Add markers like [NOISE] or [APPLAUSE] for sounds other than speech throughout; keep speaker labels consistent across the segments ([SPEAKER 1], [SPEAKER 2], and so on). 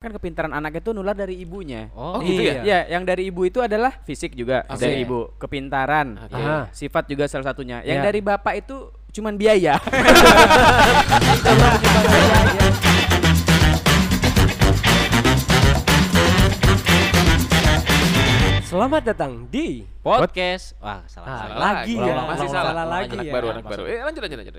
[SPEAKER 1] kan kepintaran anak itu nular dari ibunya.
[SPEAKER 2] Oh,
[SPEAKER 3] gitu
[SPEAKER 1] iya. Iya, yang dari ibu itu adalah fisik juga
[SPEAKER 3] Oke.
[SPEAKER 1] dari ibu, kepintaran,
[SPEAKER 3] Oke.
[SPEAKER 1] Aha. Iya. sifat juga salah satunya. Yang
[SPEAKER 3] Ya.
[SPEAKER 1] dari bapak itu cuman biaya. [LAUGHS]
[SPEAKER 3] Selamat datang di
[SPEAKER 2] Podcast. Wah, salah.
[SPEAKER 3] Ah,
[SPEAKER 2] salah.
[SPEAKER 3] lagi ya. Masih
[SPEAKER 2] Ulang-ulang, ulang-ulang,
[SPEAKER 3] salah
[SPEAKER 2] ulang-ulang
[SPEAKER 3] lagi
[SPEAKER 2] anak
[SPEAKER 3] ya.
[SPEAKER 2] baru, anak
[SPEAKER 3] Maksud-
[SPEAKER 2] baru. Eh, lanjut, lanjut, lanjut.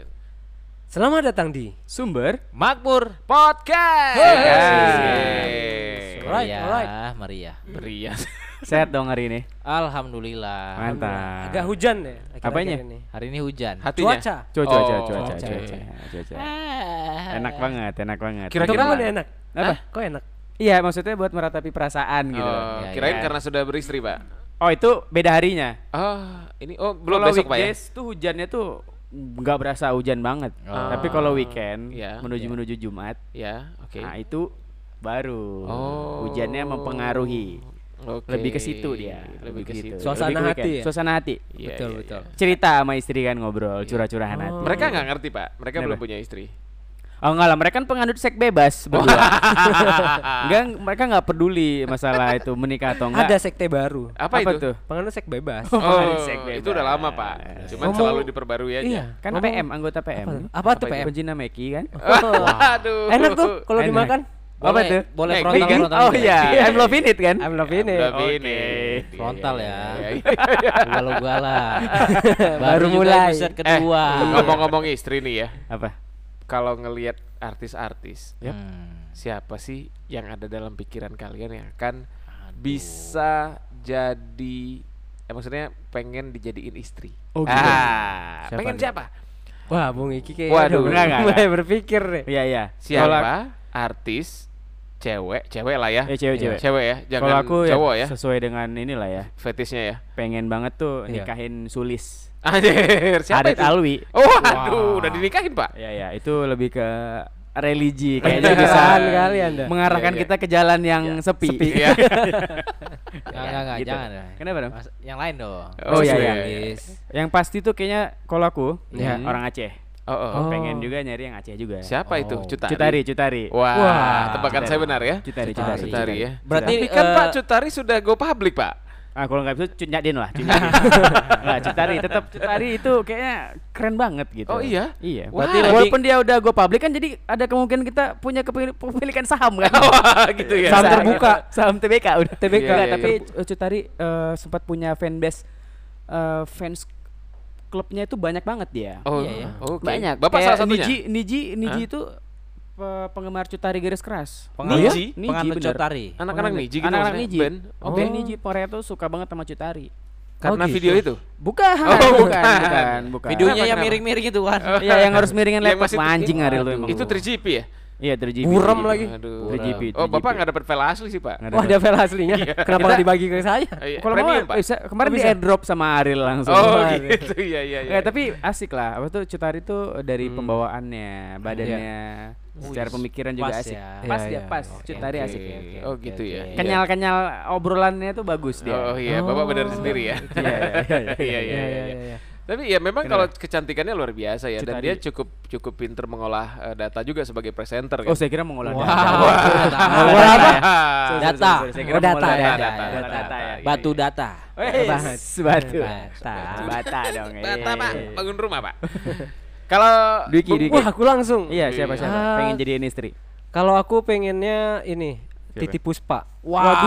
[SPEAKER 3] Selamat datang di
[SPEAKER 1] Sumber
[SPEAKER 2] Makmur Podcast.
[SPEAKER 3] Hey.
[SPEAKER 2] Yeay.
[SPEAKER 3] Alright,
[SPEAKER 4] meriah,
[SPEAKER 3] alright.
[SPEAKER 4] meriah.
[SPEAKER 2] Meriah.
[SPEAKER 1] sehat dong hari ini.
[SPEAKER 4] Alhamdulillah.
[SPEAKER 1] Mantap.
[SPEAKER 3] agak hujan ya akhir-akhir
[SPEAKER 1] Apanya?
[SPEAKER 3] ini.
[SPEAKER 4] Hari ini hujan.
[SPEAKER 2] Hatinya.
[SPEAKER 3] Cuaca.
[SPEAKER 1] Cuaca, cuaca,
[SPEAKER 2] Oh,
[SPEAKER 1] cuaca,
[SPEAKER 3] oke.
[SPEAKER 1] cuaca, cuaca.
[SPEAKER 4] Ah.
[SPEAKER 1] Enak banget, enak banget.
[SPEAKER 3] Untuk
[SPEAKER 2] Kira-kira-
[SPEAKER 3] kamu
[SPEAKER 2] Kira-kira-
[SPEAKER 3] udah enak?
[SPEAKER 1] Apa?
[SPEAKER 3] Hah? Kok enak?
[SPEAKER 1] Iya, maksudnya buat meratapi perasaan gitu.
[SPEAKER 2] Oh,
[SPEAKER 4] Ya,
[SPEAKER 2] kirain
[SPEAKER 1] ya.
[SPEAKER 2] karena sudah beristri, Pak.
[SPEAKER 1] Oh, itu beda harinya.
[SPEAKER 2] Oh, ini oh belum
[SPEAKER 1] Kalau
[SPEAKER 2] besok, Pak ya.
[SPEAKER 1] weekdays tuh hujannya tuh nggak berasa hujan banget.
[SPEAKER 4] Oh.
[SPEAKER 1] Tapi kalau weekend
[SPEAKER 2] Iya,
[SPEAKER 1] menuju
[SPEAKER 4] iya.
[SPEAKER 1] menuju Jumat,
[SPEAKER 2] Ya, oke.
[SPEAKER 1] nah itu baru
[SPEAKER 2] Oh.
[SPEAKER 1] hujannya mempengaruhi.
[SPEAKER 2] Oke.
[SPEAKER 1] Lebih ke situ dia.
[SPEAKER 2] Lebih ke
[SPEAKER 1] Begitu.
[SPEAKER 2] situ.
[SPEAKER 3] Suasana
[SPEAKER 1] Lebih ke
[SPEAKER 3] hati
[SPEAKER 1] weekend.
[SPEAKER 3] ya?
[SPEAKER 1] Suasana hati.
[SPEAKER 2] Iya,
[SPEAKER 4] Betul,
[SPEAKER 2] iya,
[SPEAKER 4] betul.
[SPEAKER 2] iya.
[SPEAKER 1] Cerita sama istri kan ngobrol, curah-curahan
[SPEAKER 3] Oh.
[SPEAKER 1] hati.
[SPEAKER 2] Mereka nggak ngerti, Pak. Mereka belum punya istri.
[SPEAKER 1] Oh enggak lah, mereka kan penganut seks bebas [LAUGHS] berdua. enggak, mereka nggak peduli masalah itu menikah atau enggak.
[SPEAKER 3] Ada sekte baru.
[SPEAKER 2] Apa,
[SPEAKER 1] Apa
[SPEAKER 2] itu?
[SPEAKER 1] tuh?
[SPEAKER 3] Penganut sek bebas.
[SPEAKER 2] Oh,
[SPEAKER 1] Sek
[SPEAKER 2] itu
[SPEAKER 1] bebas.
[SPEAKER 2] udah lama, Pak. Cuman
[SPEAKER 3] Ngomong-
[SPEAKER 2] selalu diperbarui aja.
[SPEAKER 3] Iya.
[SPEAKER 1] Kan
[SPEAKER 3] Ngomong-
[SPEAKER 1] PM, anggota PM.
[SPEAKER 3] Apa tuh
[SPEAKER 2] Apa itu?
[SPEAKER 3] PM?
[SPEAKER 1] Pembina Meki kan?
[SPEAKER 3] Oh.
[SPEAKER 2] Waduh.
[SPEAKER 3] Enak tuh kalau
[SPEAKER 1] Enak.
[SPEAKER 3] dimakan.
[SPEAKER 1] Apa
[SPEAKER 4] Boleh-
[SPEAKER 1] tuh?
[SPEAKER 4] Boleh
[SPEAKER 2] Egg
[SPEAKER 4] frontal
[SPEAKER 2] vegan?
[SPEAKER 4] frontal.
[SPEAKER 1] Oh
[SPEAKER 4] juga.
[SPEAKER 1] iya, I'm love it kan?
[SPEAKER 3] I'm love ini.
[SPEAKER 2] Udah
[SPEAKER 1] Oke.
[SPEAKER 2] bini.
[SPEAKER 4] Frontal ya.
[SPEAKER 2] Iya, iya. [LAUGHS]
[SPEAKER 4] Ugal-ugalan.
[SPEAKER 3] Baru
[SPEAKER 4] juga
[SPEAKER 3] mulai.
[SPEAKER 4] episode
[SPEAKER 2] Eh, [LAUGHS]
[SPEAKER 4] kedua.
[SPEAKER 2] ngomong-ngomong istri nih ya.
[SPEAKER 1] Apa?
[SPEAKER 2] Kalau ngelihat artis-artis,
[SPEAKER 4] Hmm.
[SPEAKER 2] siapa sih yang ada dalam pikiran kalian yang akan bisa jadi eh, maksudnya pengen dijadiin istri?
[SPEAKER 1] Oh, gitu.
[SPEAKER 2] Ah,
[SPEAKER 1] Siapa
[SPEAKER 2] pengen
[SPEAKER 1] nih?
[SPEAKER 2] siapa?
[SPEAKER 3] Wah, Bung Iki kayaknya
[SPEAKER 2] Waduh,
[SPEAKER 3] udah
[SPEAKER 1] enggak, enggak,
[SPEAKER 3] mulai berpikir nih.
[SPEAKER 1] Iya, iya.
[SPEAKER 2] Siapa
[SPEAKER 1] Kalau-
[SPEAKER 2] artis cewek, cewek lah ya.
[SPEAKER 1] Eh, cewek, cewek.
[SPEAKER 2] Cewek ya, jangan
[SPEAKER 1] Kalau aku ya
[SPEAKER 2] cowok ya.
[SPEAKER 1] sesuai dengan inilah ya.
[SPEAKER 2] Fetishnya ya. [LAUGHS]
[SPEAKER 1] Pengen banget tuh
[SPEAKER 3] Iya.
[SPEAKER 1] nikahin Sulis.
[SPEAKER 2] Anjir, siapa
[SPEAKER 1] Adet
[SPEAKER 2] itu?
[SPEAKER 1] Alwi.
[SPEAKER 2] Oh, aduh, udah dinikahin, Pak.
[SPEAKER 1] Ya ya, itu lebih ke religi kayaknya [LAUGHS]
[SPEAKER 3] Penjagaan
[SPEAKER 1] bisa
[SPEAKER 3] kali Anda.
[SPEAKER 1] mengarahkan
[SPEAKER 2] Iya, iya.
[SPEAKER 1] kita ke jalan yang sepi.
[SPEAKER 2] Iya.
[SPEAKER 4] Enggak, enggak, enggak,
[SPEAKER 1] gitu.
[SPEAKER 4] jangan.
[SPEAKER 1] Kenapa dong?
[SPEAKER 4] Mas- yang lain dong.
[SPEAKER 2] Oh,
[SPEAKER 1] iya,
[SPEAKER 4] Mas
[SPEAKER 1] iya.
[SPEAKER 4] Yulis.
[SPEAKER 1] [LAUGHS] Yang pasti tuh kayaknya kalau aku
[SPEAKER 3] Iya.
[SPEAKER 1] hmm, orang Aceh.
[SPEAKER 2] Oh, oh.
[SPEAKER 3] Oh.
[SPEAKER 1] Pengen juga nyari yang Aceh juga.
[SPEAKER 2] Siapa itu?
[SPEAKER 4] Oh.
[SPEAKER 2] Cutari.
[SPEAKER 1] Cutari, Cutari.
[SPEAKER 2] Wah,
[SPEAKER 3] Wah,
[SPEAKER 2] tebakan
[SPEAKER 1] Cutari.
[SPEAKER 2] saya benar ya.
[SPEAKER 1] Cutari,
[SPEAKER 4] Cutari,
[SPEAKER 1] Cutari.
[SPEAKER 2] Cutari ya.
[SPEAKER 4] Berarti
[SPEAKER 2] Tapi kan
[SPEAKER 4] eh,
[SPEAKER 2] Pak Cutari sudah go public,
[SPEAKER 1] [LAUGHS]
[SPEAKER 2] Pak.
[SPEAKER 1] Ah kalau nggak bisa Cunyadin lah, Cunyadin.
[SPEAKER 2] [LAUGHS]
[SPEAKER 1] Enggak, Cutari tetap Cutari itu kayaknya keren banget gitu.
[SPEAKER 2] Oh, iya?
[SPEAKER 1] Iya.
[SPEAKER 2] Wah.
[SPEAKER 1] Berarti walaupun dia udah go public kan jadi ada kemungkinan kita punya kepil- kepemilikan saham
[SPEAKER 2] [LAUGHS]
[SPEAKER 1] kan.
[SPEAKER 2] Wah, gitu ya.
[SPEAKER 1] saham
[SPEAKER 3] Bisa.
[SPEAKER 1] terbuka, saham TBK udah.
[SPEAKER 3] TBK.
[SPEAKER 1] Enggak,
[SPEAKER 2] Iya, iya,
[SPEAKER 1] tapi C- Cutari eh, sempat punya fanbase eh, fans klubnya itu banyak banget dia.
[SPEAKER 2] Oh,
[SPEAKER 4] Iya, iya.
[SPEAKER 2] oke.
[SPEAKER 1] Banyak.
[SPEAKER 2] Bapak
[SPEAKER 1] Kayak
[SPEAKER 2] salah satunya.
[SPEAKER 1] Niji, Niji, Niji
[SPEAKER 2] Hah?
[SPEAKER 1] itu pe- penggemar Cutari garis keras.
[SPEAKER 4] penganut-
[SPEAKER 2] Niji?
[SPEAKER 4] penganut
[SPEAKER 1] bener.
[SPEAKER 4] Cotari.
[SPEAKER 2] Anak-anak Niji gitu
[SPEAKER 1] Oh, Anak-anak
[SPEAKER 2] maksudnya,
[SPEAKER 1] Niji.
[SPEAKER 2] band?
[SPEAKER 1] Oh.
[SPEAKER 2] Oh.
[SPEAKER 1] Band Niji Korea tuh suka banget sama Cutari.
[SPEAKER 3] Oh,
[SPEAKER 2] Karena
[SPEAKER 3] gitu.
[SPEAKER 2] video itu.
[SPEAKER 1] Bukan,
[SPEAKER 2] Oh, bukan.
[SPEAKER 1] bukan, bukan.
[SPEAKER 4] Videonya yang
[SPEAKER 2] kenapa? Oh,
[SPEAKER 4] miring-miring itu kan.
[SPEAKER 1] Iya, yang harus miringin
[SPEAKER 2] [LAUGHS] Yang
[SPEAKER 1] laptop
[SPEAKER 2] masih-
[SPEAKER 1] Wah, anjing hari lu
[SPEAKER 4] Aduh.
[SPEAKER 1] emang.
[SPEAKER 2] Itu
[SPEAKER 1] lu.
[SPEAKER 2] 3GP ya?
[SPEAKER 1] Iya, 3GP.
[SPEAKER 3] Buram
[SPEAKER 1] 3GP.
[SPEAKER 3] lagi.
[SPEAKER 2] Aduh.
[SPEAKER 1] 3GP.
[SPEAKER 2] Oh, Bapak nggak dapat file asli sih, Pak.
[SPEAKER 1] Nggak
[SPEAKER 3] Wah, Oh, ada file aslinya. Kenapa nggak
[SPEAKER 1] Iya. Kita-
[SPEAKER 3] dibagi ke saya?
[SPEAKER 2] Eh, iya.
[SPEAKER 1] Kalau mau
[SPEAKER 2] Premium, Pak.
[SPEAKER 1] bisa kemarin
[SPEAKER 3] Oh,
[SPEAKER 1] di
[SPEAKER 3] bisa.
[SPEAKER 1] airdrop sama Ariel langsung.
[SPEAKER 2] Oh,
[SPEAKER 3] Pak.
[SPEAKER 2] gitu. Iya, iya, iya.
[SPEAKER 1] Ya, tapi asik lah. Apa tuh Cutari tuh dari
[SPEAKER 3] Hmm.
[SPEAKER 1] pembawaannya, badannya, secara
[SPEAKER 4] Wih,
[SPEAKER 1] pemikiran juga
[SPEAKER 4] pas
[SPEAKER 1] asik.
[SPEAKER 4] ya.
[SPEAKER 1] Pas
[SPEAKER 3] Iya,
[SPEAKER 1] dia
[SPEAKER 3] iya.
[SPEAKER 1] pas.
[SPEAKER 4] Oke,
[SPEAKER 1] Cutari
[SPEAKER 2] Oke.
[SPEAKER 1] asik ya.
[SPEAKER 2] Oh, gitu ya.
[SPEAKER 4] Oke.
[SPEAKER 1] Kenyal-kenyal obrolannya tuh bagus dia.
[SPEAKER 2] Oh iya, Bapak benar sendiri ya.
[SPEAKER 1] [LAUGHS] Iya, iya, iya,
[SPEAKER 2] Iya, iya, iya, iya. Tapi ya memang kalau kecantikannya luar biasa ya dan
[SPEAKER 1] Cutari.
[SPEAKER 2] dia cukup cukup pinter mengolah eh, data juga sebagai presenter kan.
[SPEAKER 1] Oh,
[SPEAKER 2] [LAUGHS]
[SPEAKER 1] saya kira mengolah
[SPEAKER 4] Wah.
[SPEAKER 1] data.
[SPEAKER 4] Wah.
[SPEAKER 1] Mengolah data. Sorry,
[SPEAKER 2] Ah.
[SPEAKER 1] sorry,
[SPEAKER 4] Data.
[SPEAKER 1] sorry, Saya kira
[SPEAKER 3] Oh, data,
[SPEAKER 1] mengolah
[SPEAKER 3] data,
[SPEAKER 1] data.
[SPEAKER 4] data, Iya,
[SPEAKER 1] Data, data ya.
[SPEAKER 4] Batu data.
[SPEAKER 1] Wes,
[SPEAKER 3] Bahat.
[SPEAKER 1] batu.
[SPEAKER 4] Bata.
[SPEAKER 1] Bata dong.
[SPEAKER 2] Bata,
[SPEAKER 1] eh.
[SPEAKER 2] Pak, bangun rumah, Pak. Kalau
[SPEAKER 1] Diki,
[SPEAKER 2] Bung-
[SPEAKER 1] Diki.
[SPEAKER 3] Wah, aku langsung.
[SPEAKER 1] Iya, siapa siapa
[SPEAKER 3] Ah.
[SPEAKER 1] pengen jadiin istri.
[SPEAKER 3] Kalau aku pengennya ini Titi Puspa.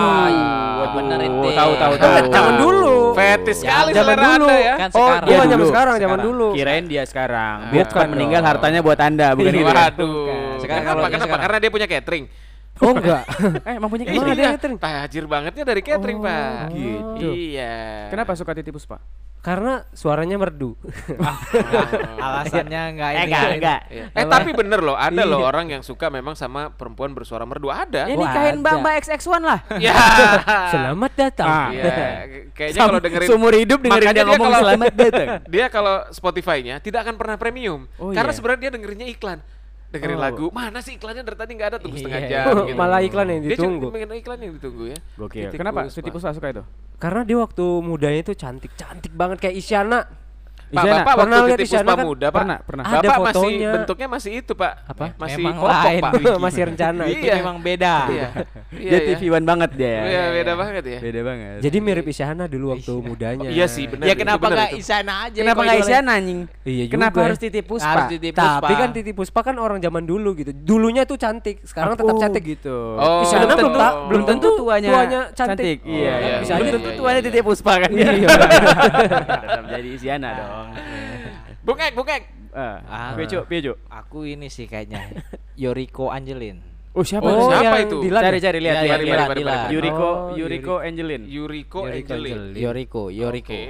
[SPEAKER 4] waduh. Bener itu.
[SPEAKER 1] Tahu tahu tahu.
[SPEAKER 3] Zaman dulu.
[SPEAKER 1] Iya.
[SPEAKER 2] Fetis sekali
[SPEAKER 3] Zaman
[SPEAKER 2] selera
[SPEAKER 3] dulu.
[SPEAKER 2] Anda ya.
[SPEAKER 4] Kan
[SPEAKER 3] oh,
[SPEAKER 4] sekarang.
[SPEAKER 3] dia
[SPEAKER 4] Iya,
[SPEAKER 3] zaman sekarang, zaman dulu.
[SPEAKER 1] Kirain dia sekarang.
[SPEAKER 2] Ah.
[SPEAKER 1] Biar cepat
[SPEAKER 2] Bukan
[SPEAKER 1] meninggal
[SPEAKER 2] dong.
[SPEAKER 1] hartanya buat Anda, bukan gitu. ya?
[SPEAKER 2] Iya. Waduh.
[SPEAKER 4] Sekarang
[SPEAKER 2] kenapa?
[SPEAKER 4] kalau-
[SPEAKER 2] kenapa?
[SPEAKER 4] sekarang.
[SPEAKER 2] Karena dia punya catering.
[SPEAKER 3] Oh, enggak.
[SPEAKER 2] [LAUGHS]
[SPEAKER 1] Eh, emang
[SPEAKER 2] Iya.
[SPEAKER 1] punya
[SPEAKER 3] Emang
[SPEAKER 1] catering? Oh,
[SPEAKER 3] ada catering?
[SPEAKER 2] Tajir bangetnya ya dari catering, Pak.
[SPEAKER 1] gitu.
[SPEAKER 2] Iya.
[SPEAKER 1] Kenapa suka titipus, Pak?
[SPEAKER 3] Karena suaranya merdu.
[SPEAKER 4] [LAUGHS] Alasannya enggak
[SPEAKER 1] Eh,
[SPEAKER 4] ini.
[SPEAKER 1] enggak, enggak.
[SPEAKER 2] Iya. Eh tapi bener loh, ada
[SPEAKER 1] Iya.
[SPEAKER 2] loh orang yang suka memang sama perempuan bersuara merdu ada.
[SPEAKER 1] Ya
[SPEAKER 3] Wah,
[SPEAKER 1] nikahin
[SPEAKER 3] ada.
[SPEAKER 1] Mbak Mbak XX1 lah.
[SPEAKER 2] Ya.
[SPEAKER 3] [LAUGHS] Selamat datang.
[SPEAKER 1] Ah,
[SPEAKER 3] [LAUGHS]
[SPEAKER 2] Iya. Kayaknya
[SPEAKER 1] Sam-
[SPEAKER 2] kalau dengerin
[SPEAKER 1] seumur hidup dengerin
[SPEAKER 2] Makanya
[SPEAKER 1] dia ngomong
[SPEAKER 2] kalau-
[SPEAKER 1] selamat
[SPEAKER 2] [LAUGHS]
[SPEAKER 1] datang.
[SPEAKER 2] dia kalau Spotify-nya tidak akan pernah premium
[SPEAKER 1] Oh,
[SPEAKER 2] karena
[SPEAKER 1] iya.
[SPEAKER 2] sebenarnya dia dengerinnya iklan. Dengerin
[SPEAKER 1] Oh.
[SPEAKER 2] lagu, mana sih iklannya dari tadi nggak ada tunggu setengah
[SPEAKER 4] Iya.
[SPEAKER 2] jam
[SPEAKER 1] [LAUGHS]
[SPEAKER 2] gitu.
[SPEAKER 3] Oh, Malah iklan yang
[SPEAKER 2] Dia cuma
[SPEAKER 3] ditunggu.
[SPEAKER 2] pengen iklan yang ditunggu ya.
[SPEAKER 1] Gokil.
[SPEAKER 2] Titik
[SPEAKER 1] Kenapa
[SPEAKER 2] puspa.
[SPEAKER 1] titipus suka itu?
[SPEAKER 3] Karena dia waktu mudanya itu cantik, cantik banget kayak Isyana.
[SPEAKER 2] Pak,
[SPEAKER 1] Isyana,
[SPEAKER 2] Bapak
[SPEAKER 3] pernah
[SPEAKER 2] waktu
[SPEAKER 3] lihat
[SPEAKER 2] Iya, di Puspa
[SPEAKER 3] Isyana kan?
[SPEAKER 2] Muda, Pak.
[SPEAKER 1] Pernah, pernah.
[SPEAKER 2] Bapak
[SPEAKER 3] Ada
[SPEAKER 2] masih
[SPEAKER 3] fotonya.
[SPEAKER 2] bentuknya masih itu, Pak.
[SPEAKER 4] Apa?
[SPEAKER 2] Masih
[SPEAKER 4] Memang
[SPEAKER 2] popok,
[SPEAKER 4] lain. [LAUGHS]
[SPEAKER 2] Pak.
[SPEAKER 3] Masih rencana.
[SPEAKER 2] Iya.
[SPEAKER 4] Itu memang beda.
[SPEAKER 2] Iya. Iya,
[SPEAKER 1] Dia
[SPEAKER 2] ya.
[SPEAKER 1] TV One banget dia.
[SPEAKER 2] Iya, beda banget ya.
[SPEAKER 1] Beda banget.
[SPEAKER 3] Jadi mirip Isyana dulu waktu mudanya.
[SPEAKER 2] Iya sih, benar.
[SPEAKER 4] Ya
[SPEAKER 2] itu,
[SPEAKER 4] kenapa
[SPEAKER 2] benar
[SPEAKER 4] nggak
[SPEAKER 2] itu.
[SPEAKER 4] Isana aja?
[SPEAKER 1] Kenapa
[SPEAKER 4] kalau
[SPEAKER 1] nggak
[SPEAKER 4] jualan?
[SPEAKER 1] Isyana anjing?
[SPEAKER 3] Iya juga.
[SPEAKER 1] Kenapa
[SPEAKER 3] ya.
[SPEAKER 1] harus titip puspa?
[SPEAKER 4] Harus titip
[SPEAKER 3] Tapi
[SPEAKER 4] Puspa.
[SPEAKER 3] kan Titi Puspa kan orang zaman dulu gitu. Dulunya tuh cantik, sekarang tetap
[SPEAKER 1] Oh,
[SPEAKER 3] cantik.
[SPEAKER 1] gitu.
[SPEAKER 2] Oh,
[SPEAKER 3] Isyana
[SPEAKER 2] belum
[SPEAKER 3] belum,
[SPEAKER 2] tentu.
[SPEAKER 3] ta- belum tentu tuanya,
[SPEAKER 1] cantik.
[SPEAKER 3] cantik.
[SPEAKER 1] Iya,
[SPEAKER 2] Oh, iya,
[SPEAKER 1] iya. Bisa
[SPEAKER 2] iya,
[SPEAKER 1] aja
[SPEAKER 2] iya,
[SPEAKER 1] tentu
[SPEAKER 2] iya,
[SPEAKER 1] tuanya
[SPEAKER 2] iya.
[SPEAKER 1] titip puspa kan. Iya. Tetap jadi Isyana dong.
[SPEAKER 2] Bung Ek, Bung Ek.
[SPEAKER 1] Eh,
[SPEAKER 4] Ah.
[SPEAKER 1] Piye, Cuk? Piye, Cuk?
[SPEAKER 4] Aku ini sih kayaknya Yoriko Angelin.
[SPEAKER 1] Oh, siapa tuh?
[SPEAKER 2] Oh, siapa
[SPEAKER 3] yang
[SPEAKER 2] itu?
[SPEAKER 3] Dilan ya?
[SPEAKER 1] Cari-cari lihat
[SPEAKER 4] Iya,
[SPEAKER 1] lihat
[SPEAKER 4] iya,
[SPEAKER 1] lihat.
[SPEAKER 4] Dilan, Dilan.
[SPEAKER 1] Yuriko
[SPEAKER 3] Oh,
[SPEAKER 1] Yuriko Angelin.
[SPEAKER 2] Yuriko Angelin.
[SPEAKER 4] Yoriko, Yoriko.
[SPEAKER 2] Oke.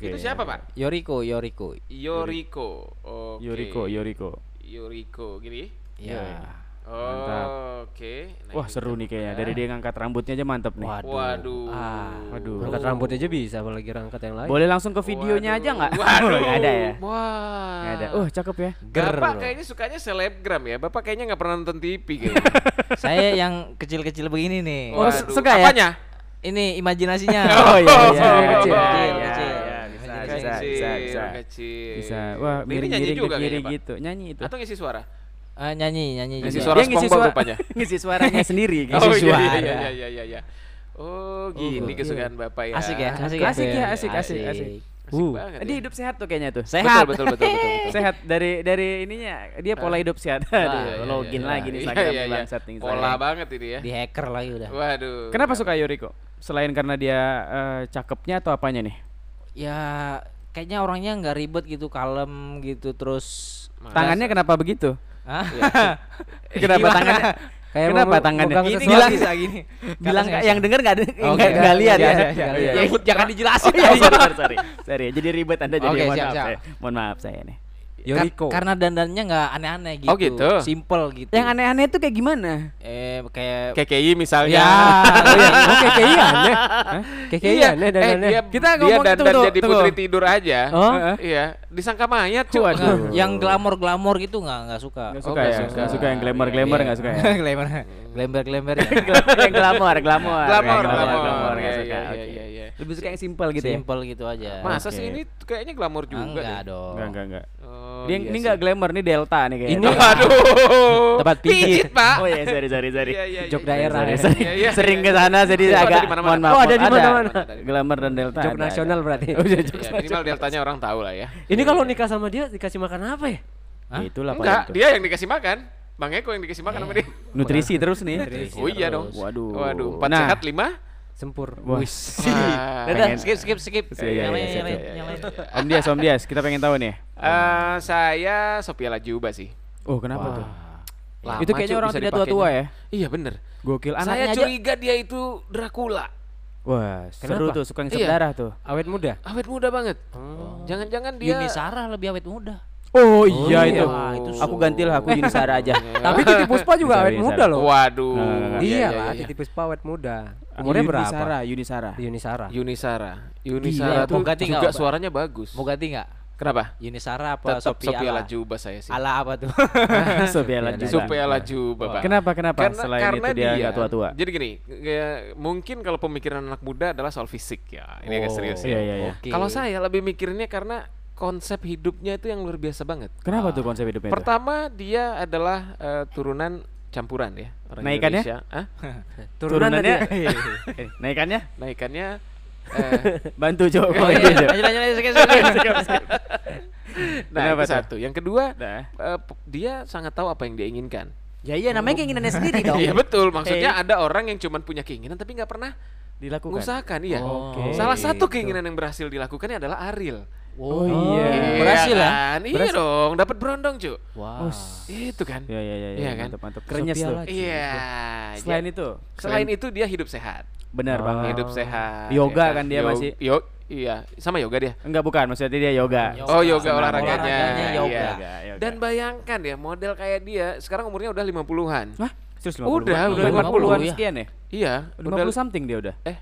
[SPEAKER 1] Oke.
[SPEAKER 2] Itu siapa, Pak?
[SPEAKER 4] Yoriko, Yoriko.
[SPEAKER 2] Yoriko. Oke.
[SPEAKER 1] Yuriko, Yuriko.
[SPEAKER 2] Yoriko gini.
[SPEAKER 1] Iya.
[SPEAKER 4] Ya.
[SPEAKER 1] Mantap.
[SPEAKER 2] Oh, Oke. Nah,
[SPEAKER 1] Wah,
[SPEAKER 2] ini
[SPEAKER 1] seru nih kayaknya.
[SPEAKER 4] ya.
[SPEAKER 1] Dari dia ngangkat rambutnya aja mantep nih.
[SPEAKER 4] Waduh.
[SPEAKER 2] Waduh.
[SPEAKER 4] Ah,
[SPEAKER 1] waduh.
[SPEAKER 3] Angkat rambut aja bisa, apalagi angkat yang lain.
[SPEAKER 1] Boleh langsung ke videonya aja nggak?
[SPEAKER 2] Waduh.
[SPEAKER 1] Nggak ada ya?
[SPEAKER 2] Wah.
[SPEAKER 1] Nggak ada. Oh, cakep ya.
[SPEAKER 4] Ger
[SPEAKER 2] Bapak
[SPEAKER 4] loh.
[SPEAKER 2] kayaknya sukanya selebgram ya. Bapak kayaknya nggak pernah nonton TV kayaknya.
[SPEAKER 4] Saya yang kecil-kecil begini nih.
[SPEAKER 1] [LAUGHS] Oh,
[SPEAKER 2] Waduh.
[SPEAKER 1] suka ya?
[SPEAKER 2] Apanya?
[SPEAKER 4] Ini imajinasinya.
[SPEAKER 1] [LAUGHS] Oh, iya, iya,
[SPEAKER 4] Kecil,
[SPEAKER 1] iya,
[SPEAKER 4] kecil,
[SPEAKER 1] iya, iya,
[SPEAKER 4] kecil, kecil.
[SPEAKER 1] iya, bisa,
[SPEAKER 4] Imajinasinya
[SPEAKER 1] bisa,
[SPEAKER 4] kecil.
[SPEAKER 1] bisa, bisa.
[SPEAKER 2] Kecil.
[SPEAKER 1] Bisa. Wah,
[SPEAKER 2] Ini nyanyi
[SPEAKER 1] miring-miring
[SPEAKER 2] juga
[SPEAKER 1] ke kiri
[SPEAKER 2] kayaknya, Pak.
[SPEAKER 1] gitu. Nyanyi itu.
[SPEAKER 2] Atau ngisi suara?
[SPEAKER 4] Eh, nyanyi, nyanyi
[SPEAKER 2] Ngisi
[SPEAKER 4] juga.
[SPEAKER 2] suara
[SPEAKER 1] Dia Iya. ngisi
[SPEAKER 2] SpongeBob
[SPEAKER 1] suara-
[SPEAKER 2] rupanya.
[SPEAKER 1] [LAUGHS] ngisi suaranya sendiri gitu.
[SPEAKER 2] oh, iya,
[SPEAKER 4] suara.
[SPEAKER 2] Iya, iya, iya, iya, iya. Oh, gini
[SPEAKER 4] gitu.
[SPEAKER 2] kesukaan Bapak ya.
[SPEAKER 4] Asik ya, asik ya.
[SPEAKER 1] Asik ya, asik, asik,
[SPEAKER 4] Asik.
[SPEAKER 1] asik.
[SPEAKER 2] Asik
[SPEAKER 3] Uh.
[SPEAKER 2] banget
[SPEAKER 1] Dia
[SPEAKER 2] ya.
[SPEAKER 1] hidup sehat tuh kayaknya tuh.
[SPEAKER 4] Sehat.
[SPEAKER 2] [LAUGHS] Betul, betul, betul, betul, betul.
[SPEAKER 1] [LAUGHS] Sehat dari dari ininya Ah. [LAUGHS] dia pola hidup sehat.
[SPEAKER 2] Iya, iya,
[SPEAKER 1] Aduh,
[SPEAKER 2] iya,
[SPEAKER 1] login
[SPEAKER 2] iya.
[SPEAKER 1] lagi nih
[SPEAKER 2] Iya,
[SPEAKER 1] Instagram
[SPEAKER 2] iya, iya.
[SPEAKER 1] bangsat nih
[SPEAKER 2] Pola
[SPEAKER 1] Instagram.
[SPEAKER 2] banget ini ya.
[SPEAKER 4] Di hacker lagi udah.
[SPEAKER 2] Waduh.
[SPEAKER 1] Kenapa suka Yuriko? Selain karena dia eh, cakepnya atau apanya nih?
[SPEAKER 4] Ya kayaknya orangnya nggak ribet gitu, kalem gitu terus.
[SPEAKER 2] Malas.
[SPEAKER 1] Tangannya kenapa begitu?
[SPEAKER 4] Hah? [LAUGHS]
[SPEAKER 1] Kenapa
[SPEAKER 4] Gimana?
[SPEAKER 1] tangannya?
[SPEAKER 3] Kayak
[SPEAKER 1] iya kenapa
[SPEAKER 3] mau-
[SPEAKER 1] tangannya?
[SPEAKER 3] megang
[SPEAKER 4] Ini
[SPEAKER 3] sesuatu.
[SPEAKER 1] bilang
[SPEAKER 4] bisa [LAUGHS] gini.
[SPEAKER 1] bilang
[SPEAKER 4] Kata saya
[SPEAKER 1] yang denger nggak ada
[SPEAKER 4] Oke,
[SPEAKER 1] nggak nggak lihat ya. [LAUGHS]
[SPEAKER 4] iya, iya, iya, iya.
[SPEAKER 1] Iya.
[SPEAKER 4] Ya, jangan dijelasin.
[SPEAKER 1] Oh, iya, iya, sorry, sorry, sorry. Jadi ribet Anda jadi
[SPEAKER 4] Oke,
[SPEAKER 1] mohon
[SPEAKER 4] siap,
[SPEAKER 1] maaf
[SPEAKER 4] siap.
[SPEAKER 1] saya. Mohon maaf saya nih.
[SPEAKER 4] Kar-
[SPEAKER 3] Yoriko.
[SPEAKER 4] Karena dandannya nggak aneh-aneh gitu.
[SPEAKER 2] Oh, gitu.
[SPEAKER 4] Simple gitu.
[SPEAKER 1] Yang aneh-aneh itu kayak gimana?
[SPEAKER 4] eh kayak
[SPEAKER 2] KKI
[SPEAKER 4] [LAUGHS]
[SPEAKER 2] misalnya.
[SPEAKER 4] ya.
[SPEAKER 3] Oke, kayak
[SPEAKER 1] [LAUGHS]
[SPEAKER 3] iya aneh. Kayak
[SPEAKER 1] ya?
[SPEAKER 3] iya aneh
[SPEAKER 2] eh,
[SPEAKER 3] dandannya.
[SPEAKER 2] dia,
[SPEAKER 1] Kita
[SPEAKER 2] kita dia
[SPEAKER 1] ngomong itu,
[SPEAKER 2] dandan
[SPEAKER 1] tunggu,
[SPEAKER 2] jadi
[SPEAKER 1] tunggu.
[SPEAKER 2] putri tidur aja.
[SPEAKER 3] Oh?
[SPEAKER 2] Iya, disangka mayat cuy.
[SPEAKER 1] Waduh.
[SPEAKER 4] Nggak- yang glamor-glamor gitu nggak nggak suka.
[SPEAKER 1] Nggak iya, suka
[SPEAKER 2] Oh, nggak
[SPEAKER 1] ya,
[SPEAKER 2] suka. iya,
[SPEAKER 1] nggak suka yang glamour-glamour nggak
[SPEAKER 2] [LAUGHS]
[SPEAKER 1] suka ya.
[SPEAKER 4] [LAUGHS] Glamour. Glamour-glamour
[SPEAKER 1] [LAUGHS]
[SPEAKER 4] ya.
[SPEAKER 1] yang glamor, glamor.
[SPEAKER 2] Glamor,
[SPEAKER 1] Ya,
[SPEAKER 2] glamor,
[SPEAKER 1] glamor, nggak
[SPEAKER 2] Iya,
[SPEAKER 1] suka.
[SPEAKER 2] iya,
[SPEAKER 1] Oke.
[SPEAKER 2] iya, iya.
[SPEAKER 1] Lebih suka yang simple gitu ya.
[SPEAKER 4] Simple gitu aja. Ah,
[SPEAKER 2] Masa
[SPEAKER 1] Oke.
[SPEAKER 2] sih ini kayaknya glamor juga
[SPEAKER 4] enggak
[SPEAKER 2] deh.
[SPEAKER 4] dong.
[SPEAKER 1] Enggak, enggak, enggak.
[SPEAKER 2] Oh,
[SPEAKER 1] Dia
[SPEAKER 2] iya
[SPEAKER 1] ini
[SPEAKER 2] sih. [LAUGHS]
[SPEAKER 1] enggak glamour nih Delta nih kayaknya.
[SPEAKER 3] Ini-
[SPEAKER 2] Aduh.
[SPEAKER 4] Tempat pijit.
[SPEAKER 1] [LAUGHS]
[SPEAKER 2] Pak.
[SPEAKER 1] Oh iya, sorry, sorry, sorry.
[SPEAKER 2] Iya, iya,
[SPEAKER 3] Jog
[SPEAKER 2] iya.
[SPEAKER 3] daerah.
[SPEAKER 1] Sorry, sorry.
[SPEAKER 2] Iya, iya,
[SPEAKER 1] [LAUGHS] Sering
[SPEAKER 2] iya,
[SPEAKER 1] ke
[SPEAKER 2] iya.
[SPEAKER 1] sana jadi
[SPEAKER 2] Itu ada
[SPEAKER 1] agak
[SPEAKER 2] di mana-mana.
[SPEAKER 1] mohon maaf.
[SPEAKER 3] Oh, ada di mana-mana.
[SPEAKER 1] Glamour dan Delta.
[SPEAKER 3] Jok
[SPEAKER 1] ada,
[SPEAKER 3] nasional
[SPEAKER 1] ada.
[SPEAKER 3] berarti.
[SPEAKER 1] Oh, iya, jok
[SPEAKER 2] Iya,
[SPEAKER 1] nasional.
[SPEAKER 2] minimal deltanya orang tahu lah ya.
[SPEAKER 3] Ini kalau nikah sama dia dikasih makan apa ya?
[SPEAKER 1] Ya, Itulah
[SPEAKER 2] Enggak,
[SPEAKER 1] paling tuh.
[SPEAKER 2] dia yang dikasih makan. Bang Eko yang dikasih makan sama dia.
[SPEAKER 1] Nutrisi terus nih.
[SPEAKER 2] Oh iya dong.
[SPEAKER 1] Waduh.
[SPEAKER 2] Waduh, empat
[SPEAKER 1] Iya. Nah.
[SPEAKER 2] sehat lima.
[SPEAKER 3] Sempur.
[SPEAKER 1] Wis.
[SPEAKER 2] Wah.
[SPEAKER 1] Dadah.
[SPEAKER 2] Pengen.
[SPEAKER 4] Skip skip skip.
[SPEAKER 1] Iya, iya,
[SPEAKER 4] Nyalain,
[SPEAKER 1] iya,
[SPEAKER 4] nyalain,
[SPEAKER 1] iya, iya,
[SPEAKER 4] nyalain.
[SPEAKER 1] Om Dias, Om Dias, kita pengen tahu nih.
[SPEAKER 2] Eh, saya Sophia Lajuba sih.
[SPEAKER 1] Oh, kenapa tuh?
[SPEAKER 2] Lama,
[SPEAKER 1] Itu kayaknya
[SPEAKER 2] cuy,
[SPEAKER 1] orang
[SPEAKER 2] bisa
[SPEAKER 1] tidak
[SPEAKER 2] dipakainya.
[SPEAKER 1] tua-tua ya.
[SPEAKER 2] Iya bener.
[SPEAKER 1] Gokil
[SPEAKER 2] saya
[SPEAKER 1] anaknya aja.
[SPEAKER 2] curiga dia itu Dracula.
[SPEAKER 1] Wah, seru
[SPEAKER 3] Kenapa?
[SPEAKER 1] tuh suka ngisep
[SPEAKER 2] Iya.
[SPEAKER 1] darah tuh.
[SPEAKER 3] Awet muda.
[SPEAKER 2] Awet muda banget. Jangan-jangan dia.
[SPEAKER 4] Yuni Sarah lebih awet muda.
[SPEAKER 1] Oh iya itu.
[SPEAKER 4] Wah, itu
[SPEAKER 1] Aku
[SPEAKER 4] su-
[SPEAKER 1] gantilah aku Yuni Sarah aja.
[SPEAKER 3] Tapi [LAUGHS] Titi Puspa juga
[SPEAKER 1] Bisa,
[SPEAKER 3] awet
[SPEAKER 1] bisa.
[SPEAKER 3] muda loh.
[SPEAKER 2] Waduh.
[SPEAKER 1] Nah, nah, nah.
[SPEAKER 3] Iya Iya, lah, Titi Puspa awet muda. Umurnya
[SPEAKER 1] Yuni
[SPEAKER 3] berapa?
[SPEAKER 1] Sarah, Yuni Sarah. [LAUGHS]
[SPEAKER 3] Yuni Sarah.
[SPEAKER 2] Yuni Sarah. Yuni
[SPEAKER 4] Gila,
[SPEAKER 2] Sarah tuh
[SPEAKER 4] mau ganti nggak,
[SPEAKER 2] juga
[SPEAKER 4] Pak?
[SPEAKER 2] suaranya bagus.
[SPEAKER 4] [LAUGHS] Mau ganti nggak?
[SPEAKER 2] Kenapa?
[SPEAKER 4] Yuni Sarah apa
[SPEAKER 2] Tetap
[SPEAKER 4] Sophia
[SPEAKER 2] Sophia
[SPEAKER 4] Ala?
[SPEAKER 2] Lajuba saya sih. Iya,
[SPEAKER 4] Ala apa tuh?
[SPEAKER 1] Sophia Lajuba.
[SPEAKER 2] Sophia Lajuba, Pak.
[SPEAKER 1] Kenapa kenapa selain itu dia nggak tua-tua?
[SPEAKER 2] Jadi gini, kayak mungkin kalau pemikiran anak muda adalah soal fisik ya. Ini agak
[SPEAKER 4] Oh,
[SPEAKER 2] serius
[SPEAKER 1] Iya
[SPEAKER 2] ya.
[SPEAKER 1] iya iya.
[SPEAKER 4] Oke.
[SPEAKER 2] Kalau saya lebih mikirnya karena konsep hidupnya itu yang luar biasa banget.
[SPEAKER 1] Kenapa tuh konsep hidupnya? tuh?
[SPEAKER 2] Pertama dia adalah eh, turunan campuran ya orang
[SPEAKER 1] Naikannya?
[SPEAKER 2] Indonesia.
[SPEAKER 1] [LAUGHS]
[SPEAKER 2] Hah?
[SPEAKER 1] Turunannya.
[SPEAKER 3] tadi. ya?
[SPEAKER 1] [LAUGHS] Eh, Naikannya
[SPEAKER 2] Naikannya eh,
[SPEAKER 1] [LAUGHS] bantu Jok.
[SPEAKER 4] Oh, iya.
[SPEAKER 1] [LAUGHS]
[SPEAKER 4] Lanjut lanjut lanjut, skip, skip.
[SPEAKER 2] nah
[SPEAKER 1] Kenapa
[SPEAKER 2] itu
[SPEAKER 1] tuh?
[SPEAKER 2] satu. Yang kedua
[SPEAKER 1] Nah.
[SPEAKER 2] eh, p- dia sangat tahu apa yang dia inginkan.
[SPEAKER 1] Ya iya namanya keinginannya sendiri dong.
[SPEAKER 2] Iya betul. Maksudnya ada orang yang cuman punya keinginan tapi nggak pernah
[SPEAKER 1] Dilakukan.
[SPEAKER 2] mengusahakan iya.
[SPEAKER 1] Oke. Gitu.
[SPEAKER 2] Salah satu keinginan yang berhasil dilakukannya adalah Ariel.
[SPEAKER 1] Oh iya. Oh,
[SPEAKER 2] Iya
[SPEAKER 4] Berhasil ya?
[SPEAKER 2] kan? Iya dong, dapat berondong, Cuk.
[SPEAKER 4] Wow.
[SPEAKER 2] Itu kan.
[SPEAKER 1] Iya iya iya.
[SPEAKER 2] Iya
[SPEAKER 1] Iya
[SPEAKER 2] kan?
[SPEAKER 1] Mantap mantap. Kerenyes
[SPEAKER 4] Sophia
[SPEAKER 1] tuh.
[SPEAKER 4] Lajuba.
[SPEAKER 2] Iya.
[SPEAKER 1] Selain
[SPEAKER 2] ja-
[SPEAKER 1] itu,
[SPEAKER 2] selain itu dia hidup sehat.
[SPEAKER 1] benar banget.
[SPEAKER 2] Hidup sehat.
[SPEAKER 1] Yoga
[SPEAKER 2] ya
[SPEAKER 1] kan dia masih?
[SPEAKER 2] yo- iya, sama yoga dia.
[SPEAKER 1] Enggak bukan, maksudnya dia yoga.
[SPEAKER 4] Yoga.
[SPEAKER 2] Oh, yoga
[SPEAKER 1] Senam,
[SPEAKER 2] olahraganya.
[SPEAKER 4] olahraganya
[SPEAKER 2] Iya.
[SPEAKER 4] yoga.
[SPEAKER 2] Dan bayangkan ya model kayak dia sekarang umurnya udah 50-an.
[SPEAKER 1] Hah? Terus
[SPEAKER 2] Udah, udah
[SPEAKER 1] 50-an
[SPEAKER 4] 50, ya.
[SPEAKER 1] sekian ya?
[SPEAKER 2] Iya, udah
[SPEAKER 1] 50 something dia udah.
[SPEAKER 2] eh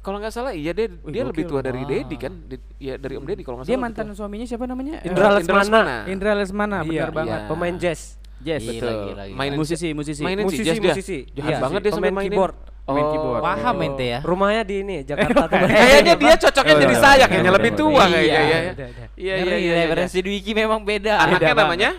[SPEAKER 2] kalau nggak salah iya dia dia lebih
[SPEAKER 1] gokil.
[SPEAKER 2] tua dari Dedi kan? Di- Iya, dari Om Dedi kalau nggak
[SPEAKER 1] Dia
[SPEAKER 2] salah. lebih
[SPEAKER 1] mantan suaminya siapa namanya?
[SPEAKER 2] tua.
[SPEAKER 3] Indra Lesmana.
[SPEAKER 1] Indra Lesmana,
[SPEAKER 3] Iya,
[SPEAKER 1] benar banget.
[SPEAKER 2] iya.
[SPEAKER 3] Pemain jazz.
[SPEAKER 1] Yes,
[SPEAKER 4] Iya,
[SPEAKER 1] betul.
[SPEAKER 4] lagi, lagi.
[SPEAKER 2] Mainin
[SPEAKER 1] Musisi, musisi.
[SPEAKER 2] mainin
[SPEAKER 3] Musisi,
[SPEAKER 2] si jazz dia.
[SPEAKER 3] musisi.
[SPEAKER 2] Jahat
[SPEAKER 3] Iya,
[SPEAKER 2] banget
[SPEAKER 3] sih.
[SPEAKER 2] dia sampai
[SPEAKER 3] Pemain
[SPEAKER 2] mainin.
[SPEAKER 3] keyboard.
[SPEAKER 1] main
[SPEAKER 2] Oh,
[SPEAKER 1] keyboard.
[SPEAKER 4] Paham ente ya.
[SPEAKER 3] Rumahnya di [LAUGHS] ini Jakarta tuh. Bang.
[SPEAKER 2] Kayaknya dia cocoknya
[SPEAKER 1] Oh,
[SPEAKER 2] jadi
[SPEAKER 1] iya,
[SPEAKER 2] saya
[SPEAKER 1] iya,
[SPEAKER 2] kayaknya
[SPEAKER 1] iya,
[SPEAKER 2] lebih
[SPEAKER 1] iya,
[SPEAKER 2] tua
[SPEAKER 4] iya.
[SPEAKER 2] kayaknya ya.
[SPEAKER 3] Udah, udah.
[SPEAKER 2] Iya iya
[SPEAKER 4] Ngeri,
[SPEAKER 2] iya. iya.
[SPEAKER 4] referensi di Wiki memang beda.
[SPEAKER 2] Anaknya
[SPEAKER 4] Beda
[SPEAKER 2] namanya?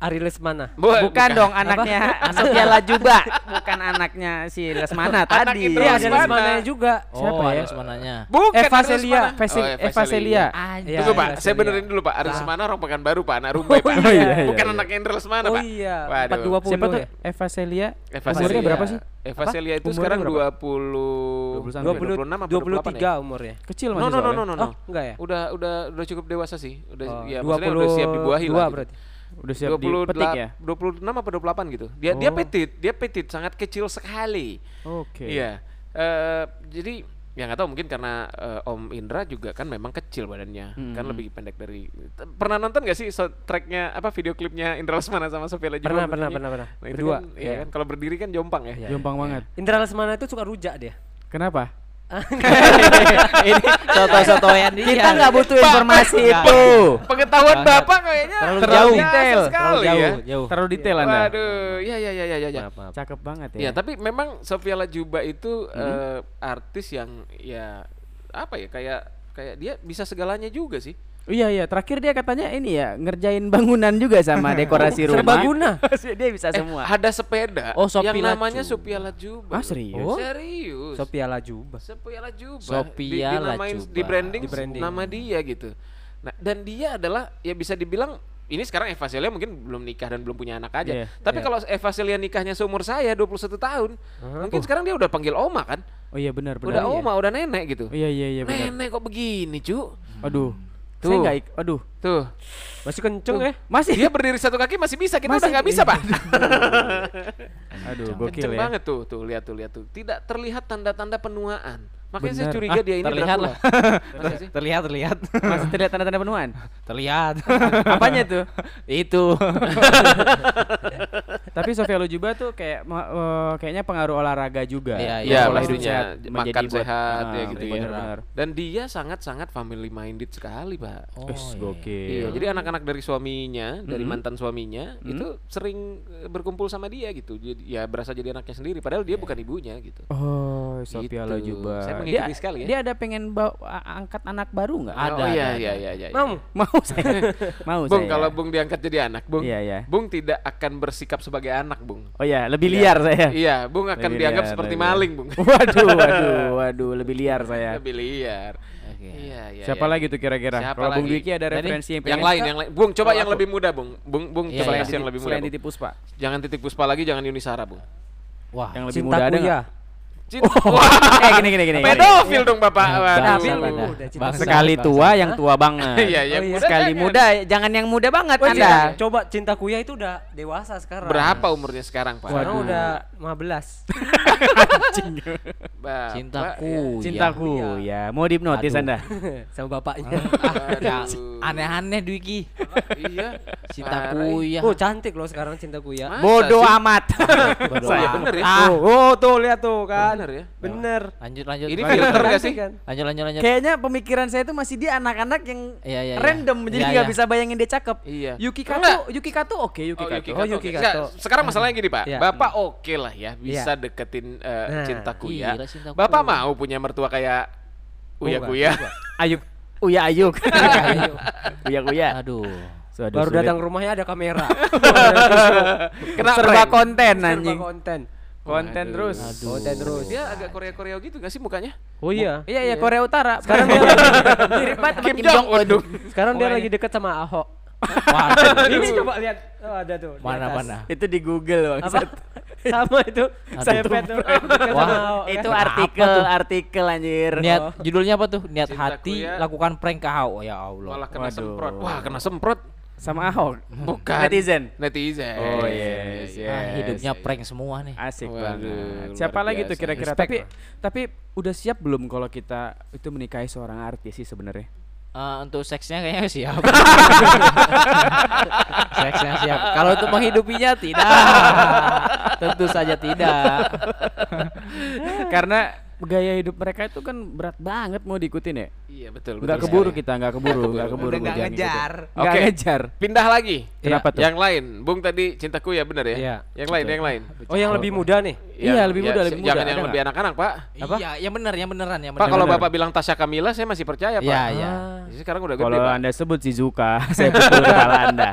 [SPEAKER 3] Ari Lesmana.
[SPEAKER 2] Bu-
[SPEAKER 1] bukan, dong anaknya Sofia Lajuba, bukan anaknya si Lesmana tadi.
[SPEAKER 2] itu
[SPEAKER 3] Iya, ada
[SPEAKER 2] Lesmana.
[SPEAKER 3] Lesmananya juga.
[SPEAKER 4] Siapa
[SPEAKER 1] Siapa
[SPEAKER 4] ya?
[SPEAKER 1] ya?
[SPEAKER 4] sebenarnya?
[SPEAKER 2] Bukan
[SPEAKER 1] Eva
[SPEAKER 2] Aris
[SPEAKER 1] Celia,
[SPEAKER 2] Mana.
[SPEAKER 1] Fesi-
[SPEAKER 2] Oh,
[SPEAKER 1] Eva Celia.
[SPEAKER 4] Anjir.
[SPEAKER 3] Iya,
[SPEAKER 2] Tunggu Pak,
[SPEAKER 3] Eva
[SPEAKER 2] saya
[SPEAKER 3] Celia.
[SPEAKER 2] benerin dulu Pak. Aris Mana orang Pekanbaru Pak, anak Rumbai Pak.
[SPEAKER 1] Oh, iya, iya,
[SPEAKER 2] Bukan
[SPEAKER 1] iya.
[SPEAKER 2] anak Indra Lesmana
[SPEAKER 3] Oh
[SPEAKER 2] Pak.
[SPEAKER 3] iya,
[SPEAKER 2] Waduh.
[SPEAKER 3] 420
[SPEAKER 1] Siapa tuh?
[SPEAKER 3] ya?
[SPEAKER 1] Eva Celia.
[SPEAKER 2] Eva
[SPEAKER 1] Umurnya
[SPEAKER 2] Celia.
[SPEAKER 1] berapa sih?
[SPEAKER 2] Eva
[SPEAKER 1] Apa?
[SPEAKER 2] Celia itu
[SPEAKER 1] Umurnya
[SPEAKER 2] sekarang
[SPEAKER 1] berapa?
[SPEAKER 2] 20
[SPEAKER 1] 20-an.
[SPEAKER 3] 20,
[SPEAKER 2] 26 apa
[SPEAKER 3] 23 umurnya.
[SPEAKER 1] Kecil
[SPEAKER 2] No
[SPEAKER 1] masih
[SPEAKER 2] no no
[SPEAKER 1] soalnya.
[SPEAKER 2] no no. no.
[SPEAKER 3] Oh, enggak ya?
[SPEAKER 2] Udah udah udah cukup dewasa sih. Udah
[SPEAKER 3] Oh,
[SPEAKER 2] ya maksudnya udah siap dibuahi lah.
[SPEAKER 3] 22
[SPEAKER 2] gitu.
[SPEAKER 3] berarti.
[SPEAKER 1] Udah siap dipetik ya?
[SPEAKER 2] 26 apa 28 gitu. Dia
[SPEAKER 3] Oh.
[SPEAKER 2] dia petit, dia petit sangat kecil sekali.
[SPEAKER 1] Oke.
[SPEAKER 2] Iya. Eh, jadi ya nggak tahu mungkin karena eh, Om Indra juga kan memang kecil badannya,
[SPEAKER 3] Hmm.
[SPEAKER 2] kan lebih pendek dari. T- Pernah nonton gak sih soundtracknya apa video klipnya Indra Lesmana sama Sofia Lajuba?
[SPEAKER 3] Pernah,
[SPEAKER 2] bunyinya?
[SPEAKER 3] pernah, pernah, pernah.
[SPEAKER 2] Nah, itu
[SPEAKER 3] Berdua,
[SPEAKER 2] kan, ya
[SPEAKER 3] iya.
[SPEAKER 2] kan kalau berdiri kan jompang ya.
[SPEAKER 1] Jompang banget.
[SPEAKER 3] Indra Lesmana itu suka rujak dia.
[SPEAKER 1] Kenapa?
[SPEAKER 4] Ini soto-sotoyan dia.
[SPEAKER 1] Kita nggak butuh
[SPEAKER 2] Pak,
[SPEAKER 1] informasi
[SPEAKER 2] Pak,
[SPEAKER 1] itu.
[SPEAKER 2] Pengetahuan Bapak kayaknya
[SPEAKER 4] Terlalu
[SPEAKER 1] jauh.
[SPEAKER 2] biasa
[SPEAKER 1] Detail, terlalu
[SPEAKER 2] sekali
[SPEAKER 4] jauh,
[SPEAKER 2] ya.
[SPEAKER 4] jauh.
[SPEAKER 1] Terlalu detail Anda.
[SPEAKER 2] Waduh, ya ya ya ya ya. ya.
[SPEAKER 3] Maaf, maaf.
[SPEAKER 1] Cakep banget ya. Hmm.
[SPEAKER 2] Ya, tapi memang Sofia Lajuba itu eh, artis yang ya apa ya kayak kayak dia bisa segalanya juga sih.
[SPEAKER 1] Iya iya, terakhir dia katanya ini ya ngerjain bangunan juga
[SPEAKER 2] [LAUGHS]
[SPEAKER 1] sama dekorasi rumah. [LAUGHS]
[SPEAKER 3] Serbaguna.
[SPEAKER 1] dia bisa
[SPEAKER 2] Eh,
[SPEAKER 1] semua.
[SPEAKER 2] ada sepeda
[SPEAKER 4] Oh,
[SPEAKER 2] yang
[SPEAKER 4] Sophie
[SPEAKER 2] namanya
[SPEAKER 4] Lajuba.
[SPEAKER 2] Sofia Lajuba.
[SPEAKER 1] Ah, serius?
[SPEAKER 2] Oh? Serius.
[SPEAKER 3] Sophia Lajuba.
[SPEAKER 2] Sophia Lajuba.
[SPEAKER 4] Sophia
[SPEAKER 2] dinamain-
[SPEAKER 4] Lajuba.
[SPEAKER 2] Di branding,
[SPEAKER 3] Di branding.
[SPEAKER 2] nama dia gitu. Nah, dan dia adalah ya bisa dibilang ini sekarang Eva Celia mungkin belum nikah dan belum punya anak aja.
[SPEAKER 1] Iya,
[SPEAKER 2] Tapi kalau Eva Celia nikahnya seumur saya 21 tahun, mungkin sekarang dia udah panggil oma kan?
[SPEAKER 1] Oh iya benar benar.
[SPEAKER 2] udah oma, udah nenek gitu.
[SPEAKER 1] Oh iya iya iya benar.
[SPEAKER 2] Nenek kok begini, Cu?
[SPEAKER 1] Aduh. Saya
[SPEAKER 2] Tuh. Eh, iya.
[SPEAKER 1] nggak ik- aduh.
[SPEAKER 2] Tuh.
[SPEAKER 3] Masih kenceng ya?
[SPEAKER 1] Masih.
[SPEAKER 2] Dia berdiri satu kaki masih bisa, kita
[SPEAKER 1] Masih-
[SPEAKER 2] udah nggak bisa, Pak. [LAUGHS]
[SPEAKER 1] Aduh, gokil
[SPEAKER 2] Kenceng
[SPEAKER 1] ya.
[SPEAKER 2] banget tuh, tuh lihat tuh lihat tuh. Tidak terlihat tanda-tanda penuaan. Makanya
[SPEAKER 1] Benar.
[SPEAKER 2] saya
[SPEAKER 1] Ah,
[SPEAKER 2] curiga dia ini
[SPEAKER 4] terlihat
[SPEAKER 2] Dracula.
[SPEAKER 4] lah.
[SPEAKER 2] Masa sih?
[SPEAKER 4] Terlihat, terlihat.
[SPEAKER 1] Masih terlihat tanda-tanda penuaan.
[SPEAKER 4] Terlihat.
[SPEAKER 1] Apanya tuh?
[SPEAKER 4] Itu.
[SPEAKER 1] Tapi Sofia Lajuba tuh kayak ma- eh, kayaknya pengaruh olahraga juga.
[SPEAKER 4] Iya, iya,
[SPEAKER 2] [LAUGHS] Iya,
[SPEAKER 1] Pola hidup
[SPEAKER 2] pastinya
[SPEAKER 1] sehat menjadi
[SPEAKER 2] makan
[SPEAKER 1] buat-
[SPEAKER 2] sehat ya
[SPEAKER 1] Ah,
[SPEAKER 2] gitu ya.
[SPEAKER 1] benar-benar.
[SPEAKER 2] Dan dia sangat-sangat family minded sekali, Pak.
[SPEAKER 4] Oh,
[SPEAKER 1] Us,
[SPEAKER 4] iya.
[SPEAKER 2] Iya,
[SPEAKER 1] Gokil.
[SPEAKER 2] jadi anak-anak dari suaminya, dari
[SPEAKER 1] Mhm.
[SPEAKER 2] mantan suaminya itu sering eh, berkumpul sama dia gitu. Jadi ya berasa jadi anaknya sendiri padahal dia bukan ibunya gitu.
[SPEAKER 1] Iya. Oh, Sofia
[SPEAKER 2] Gitu.
[SPEAKER 1] Lajuba.
[SPEAKER 2] Saya
[SPEAKER 1] dia,
[SPEAKER 2] mengikuti sekali ya.
[SPEAKER 1] dia ada pengen bawa- a- angkat anak baru nggak?
[SPEAKER 4] Ada,
[SPEAKER 2] oh, iya,
[SPEAKER 4] ada,
[SPEAKER 2] iya, iya, iya, iya.
[SPEAKER 3] Mau?
[SPEAKER 1] Mau
[SPEAKER 2] [LAUGHS]
[SPEAKER 1] saya. Mau saya. ya.
[SPEAKER 2] Bung, kalau Bung diangkat jadi anak, Bung.
[SPEAKER 1] Iya, iya.
[SPEAKER 2] Bung tidak akan bersikap sebagai anak, Bung.
[SPEAKER 1] Oh ya, lebih liar saya.
[SPEAKER 2] Iya, Bung akan
[SPEAKER 1] Lebih
[SPEAKER 2] dianggap
[SPEAKER 1] liar,
[SPEAKER 2] seperti
[SPEAKER 1] lebih liar.
[SPEAKER 2] maling, Bung.
[SPEAKER 1] [LAUGHS] Waduh, waduh,
[SPEAKER 2] [LAUGHS]
[SPEAKER 1] waduh, lebih liar saya.
[SPEAKER 2] Lebih liar.
[SPEAKER 4] Oke.
[SPEAKER 2] Iya, iya.
[SPEAKER 1] Siapa
[SPEAKER 2] iya.
[SPEAKER 1] lagi tuh kira-kira?
[SPEAKER 2] Siapa
[SPEAKER 1] Kalau Bung
[SPEAKER 2] lagi?
[SPEAKER 1] Dwiki ada
[SPEAKER 4] Tadi?
[SPEAKER 1] referensi yang
[SPEAKER 2] Yang
[SPEAKER 1] pengen-
[SPEAKER 2] lain, yang lain. Bung, coba
[SPEAKER 1] Kalau
[SPEAKER 2] yang
[SPEAKER 1] aku.
[SPEAKER 2] lebih muda, Bung. Bung, Bung
[SPEAKER 4] Iya,
[SPEAKER 2] coba
[SPEAKER 4] iya.
[SPEAKER 2] kasih yang lebih muda.
[SPEAKER 1] Selain
[SPEAKER 2] Bung.
[SPEAKER 1] titik puspa.
[SPEAKER 2] Jangan titik puspa lagi, jangan Yunisara, Bung.
[SPEAKER 4] Wah.
[SPEAKER 1] Yang lebih
[SPEAKER 3] Cinta
[SPEAKER 1] muda ada
[SPEAKER 3] Kuya.
[SPEAKER 1] nggak?
[SPEAKER 2] Cinta.
[SPEAKER 1] [LAUGHS] Eh, gini gini gini. gini.
[SPEAKER 2] Pedofil dong, Bapak.
[SPEAKER 1] Nah,
[SPEAKER 2] Waduh.
[SPEAKER 3] Tapi lu
[SPEAKER 1] sabar,
[SPEAKER 3] udah cinta
[SPEAKER 4] Bangsa.
[SPEAKER 3] Kuya.
[SPEAKER 1] Sekali
[SPEAKER 4] Bangsa.
[SPEAKER 1] tua yang tua banget.
[SPEAKER 2] [LAUGHS] Iya, iya,
[SPEAKER 3] Oh, iya.
[SPEAKER 2] muda
[SPEAKER 1] Sekali
[SPEAKER 2] jangan.
[SPEAKER 1] muda, jangan yang muda banget
[SPEAKER 3] Wah, cinta,
[SPEAKER 1] Anda.
[SPEAKER 3] coba cinta kuya itu udah dewasa sekarang.
[SPEAKER 2] Berapa umurnya sekarang, Pak?
[SPEAKER 3] Sekarang udah 15.
[SPEAKER 2] Bapak,
[SPEAKER 4] Cintaku.
[SPEAKER 1] Cintaku ya, mau dihipnotis
[SPEAKER 4] Aduh.
[SPEAKER 1] Anda.
[SPEAKER 3] [LAUGHS] Sama bapaknya.
[SPEAKER 4] Ya,
[SPEAKER 2] Aduh.
[SPEAKER 4] aneh-aneh Dwiki.
[SPEAKER 2] Iya.
[SPEAKER 4] Cintaku ya.
[SPEAKER 3] Oh, cantik loh sekarang cinta kuya.
[SPEAKER 2] Masa
[SPEAKER 1] Bodoh
[SPEAKER 2] sih?
[SPEAKER 1] amat.
[SPEAKER 4] Bodoh
[SPEAKER 2] [LAUGHS] Saya
[SPEAKER 4] amat.
[SPEAKER 2] bener ya.
[SPEAKER 4] Ah,
[SPEAKER 3] Oh, oh, tuh lihat tuh kan.
[SPEAKER 2] Bener ya.
[SPEAKER 3] Bener.
[SPEAKER 4] Lanjut, lanjut.
[SPEAKER 2] Ini
[SPEAKER 4] lanjut.
[SPEAKER 2] filter gak
[SPEAKER 3] Cantik
[SPEAKER 2] sih?
[SPEAKER 3] kan?
[SPEAKER 4] Lanjut, lanjut, lanjut.
[SPEAKER 1] Kayaknya pemikiran saya itu masih dia anak-anak yang
[SPEAKER 4] Iya, iya, iya.
[SPEAKER 1] random jadi
[SPEAKER 4] Iya,
[SPEAKER 1] nggak
[SPEAKER 4] iya.
[SPEAKER 1] bisa bayangin dia cakep.
[SPEAKER 2] Iya.
[SPEAKER 1] Yuki
[SPEAKER 2] Enggak.
[SPEAKER 1] Kato, Yuki Kato oke Yuki
[SPEAKER 2] Oh,
[SPEAKER 1] Kato.
[SPEAKER 2] Yuki
[SPEAKER 3] Oh,
[SPEAKER 2] Kato.
[SPEAKER 3] Yuki
[SPEAKER 2] oke.
[SPEAKER 3] Kato.
[SPEAKER 2] Nggak, sekarang masalahnya gini, Pak.
[SPEAKER 3] Iya.
[SPEAKER 2] Bapak oke lah ya, bisa deketin eh,
[SPEAKER 3] Nah.
[SPEAKER 2] cintaku
[SPEAKER 4] Gila,
[SPEAKER 2] ya.
[SPEAKER 4] cintaku.
[SPEAKER 2] Bapak mau punya mertua kayak Uya
[SPEAKER 3] Enggak,
[SPEAKER 2] Kuya.
[SPEAKER 1] Ayuk, Uya Ayuk.
[SPEAKER 3] Ayo.
[SPEAKER 1] Uya Uya.
[SPEAKER 4] Aduh.
[SPEAKER 1] Sudah
[SPEAKER 3] Baru
[SPEAKER 1] sulit.
[SPEAKER 3] datang rumahnya ada kamera.
[SPEAKER 2] Kena
[SPEAKER 1] serba
[SPEAKER 2] prank.
[SPEAKER 1] konten
[SPEAKER 3] Serba
[SPEAKER 1] anjing.
[SPEAKER 3] konten.
[SPEAKER 1] Konten
[SPEAKER 2] Aduh.
[SPEAKER 1] terus.
[SPEAKER 4] Aduh.
[SPEAKER 3] Konten terus.
[SPEAKER 2] Dia agak Korea-Korea gitu gak sih mukanya?
[SPEAKER 3] Oh iya.
[SPEAKER 1] Iya iya Korea Utara.
[SPEAKER 3] Sekarang dia
[SPEAKER 1] mirip banget sama
[SPEAKER 2] Kim Jong Un.
[SPEAKER 3] Sekarang dia lagi deket sama Ahok.
[SPEAKER 4] [LAUGHS] Waduh.
[SPEAKER 3] Ini coba lihat. Oh, ada tuh. di
[SPEAKER 4] Mana,
[SPEAKER 3] atas.
[SPEAKER 4] mana.
[SPEAKER 1] Itu di Google
[SPEAKER 3] Apa?
[SPEAKER 1] bangsat.
[SPEAKER 3] sama itu. Saya
[SPEAKER 4] Aduh.
[SPEAKER 3] pet tuh. Deket
[SPEAKER 4] Wah,
[SPEAKER 3] sama Ahok,
[SPEAKER 1] Itu
[SPEAKER 3] kan?
[SPEAKER 1] artikel artikel anjir.
[SPEAKER 4] Niat judulnya apa tuh? Niat
[SPEAKER 2] Cintaku
[SPEAKER 4] hati
[SPEAKER 2] ya.
[SPEAKER 4] lakukan prank ke Hao. Ya Allah.
[SPEAKER 2] Malah kena
[SPEAKER 1] Waduh.
[SPEAKER 2] semprot. Wah, kena semprot.
[SPEAKER 1] sama Ahok.
[SPEAKER 2] Bukan.
[SPEAKER 1] Netizen.
[SPEAKER 2] Netizen.
[SPEAKER 1] Oh, yes, yes.
[SPEAKER 4] Ah, hidupnya
[SPEAKER 2] Yes, yes.
[SPEAKER 4] prank semua nih.
[SPEAKER 1] Asik
[SPEAKER 2] Waduh,
[SPEAKER 1] banget.
[SPEAKER 2] luar
[SPEAKER 1] Siapa lagi tuh
[SPEAKER 2] biasa.
[SPEAKER 1] kira-kira?
[SPEAKER 4] Respect,
[SPEAKER 1] Tapi
[SPEAKER 4] bro.
[SPEAKER 1] tapi udah siap belum kalau kita itu menikahi seorang artis sih sebenarnya?
[SPEAKER 4] Eh, untuk seksnya kayaknya [LAUGHS] siap. seksnya siap. Kalau untuk menghidupinya tidak. Tentu saja tidak.
[SPEAKER 1] Karena gaya hidup mereka itu kan berat banget mau diikutin ya.
[SPEAKER 2] Iya betul.
[SPEAKER 1] Nggak
[SPEAKER 2] betul
[SPEAKER 1] keburu
[SPEAKER 2] sekali.
[SPEAKER 1] kita, nggak keburu, nggak keburu.
[SPEAKER 2] keburu.
[SPEAKER 5] Udah nggak
[SPEAKER 1] Bung.
[SPEAKER 5] ngejar.
[SPEAKER 1] Nggak
[SPEAKER 2] Oke.
[SPEAKER 1] ngejar.
[SPEAKER 2] Pindah lagi.
[SPEAKER 1] Kenapa tuh?
[SPEAKER 2] Yang lain, Bung tadi cintaku ya benar ya.
[SPEAKER 3] Iya.
[SPEAKER 2] Yang lain, yang lain.
[SPEAKER 3] Oh yang lebih muda nih.
[SPEAKER 1] Iya, lebih muda, lebih muda.
[SPEAKER 2] Jangan
[SPEAKER 1] Ada
[SPEAKER 2] yang lebih anak-anak, Pak.
[SPEAKER 1] Apa?
[SPEAKER 4] Iya, yang benar, yang beneran, yang
[SPEAKER 2] Pak,
[SPEAKER 4] beneran.
[SPEAKER 2] kalau
[SPEAKER 1] benar.
[SPEAKER 2] Bapak bilang Tasya Kamila, saya masih percaya, Pak.
[SPEAKER 4] Iya, iya.
[SPEAKER 2] Jadi sekarang udah gede,
[SPEAKER 1] Kalau
[SPEAKER 2] Pak.
[SPEAKER 1] Anda sebut
[SPEAKER 2] [LAUGHS]
[SPEAKER 1] Shizuka, saya pukul kepala Anda.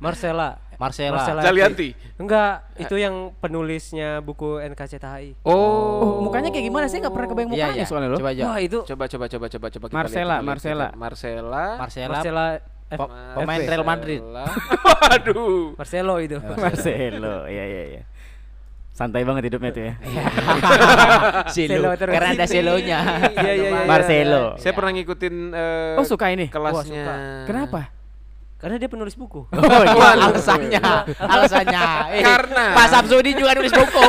[SPEAKER 3] Marcella.
[SPEAKER 4] Marcella. [LAUGHS]
[SPEAKER 2] Zalianti.
[SPEAKER 3] Enggak, itu yang penulisnya buku NKCTHI.
[SPEAKER 1] Oh, mukanya kayak gimana? Saya nggak pernah kebayang
[SPEAKER 4] Iya,
[SPEAKER 1] mukanya
[SPEAKER 4] iya.
[SPEAKER 1] soalnya loh.
[SPEAKER 4] Coba aja.
[SPEAKER 3] Wah, itu
[SPEAKER 2] Coba coba coba coba coba kita
[SPEAKER 1] Marcella,
[SPEAKER 2] lihat, kita lihat, kita
[SPEAKER 1] Marcella.
[SPEAKER 2] lihat. Marcella.
[SPEAKER 4] Marcella.
[SPEAKER 3] Marcella F-
[SPEAKER 4] Pop- pemain
[SPEAKER 3] FV.
[SPEAKER 4] Real Madrid.
[SPEAKER 2] Waduh.
[SPEAKER 3] Marcelo itu.
[SPEAKER 1] [LAUGHS] Ya,
[SPEAKER 3] [LAUGHS]
[SPEAKER 1] Marcelo, iya iya iya. Santai banget hidupnya
[SPEAKER 2] Iya.
[SPEAKER 1] tuh ya.
[SPEAKER 4] Selo.
[SPEAKER 3] Selo terus.
[SPEAKER 4] Karena ada selonya.
[SPEAKER 3] Iya, iya, iya.
[SPEAKER 1] Marcelo.
[SPEAKER 2] Saya pernah ngikutin eh,
[SPEAKER 1] Oh suka ini.
[SPEAKER 2] kelasnya.
[SPEAKER 3] suka.
[SPEAKER 1] Kenapa?
[SPEAKER 3] Karena dia penulis buku.
[SPEAKER 1] Oh,
[SPEAKER 4] Wah,
[SPEAKER 1] iya.
[SPEAKER 4] alasannya, alasannya. Eh,
[SPEAKER 2] Karena-
[SPEAKER 4] Pak Samsudi juga nulis buku.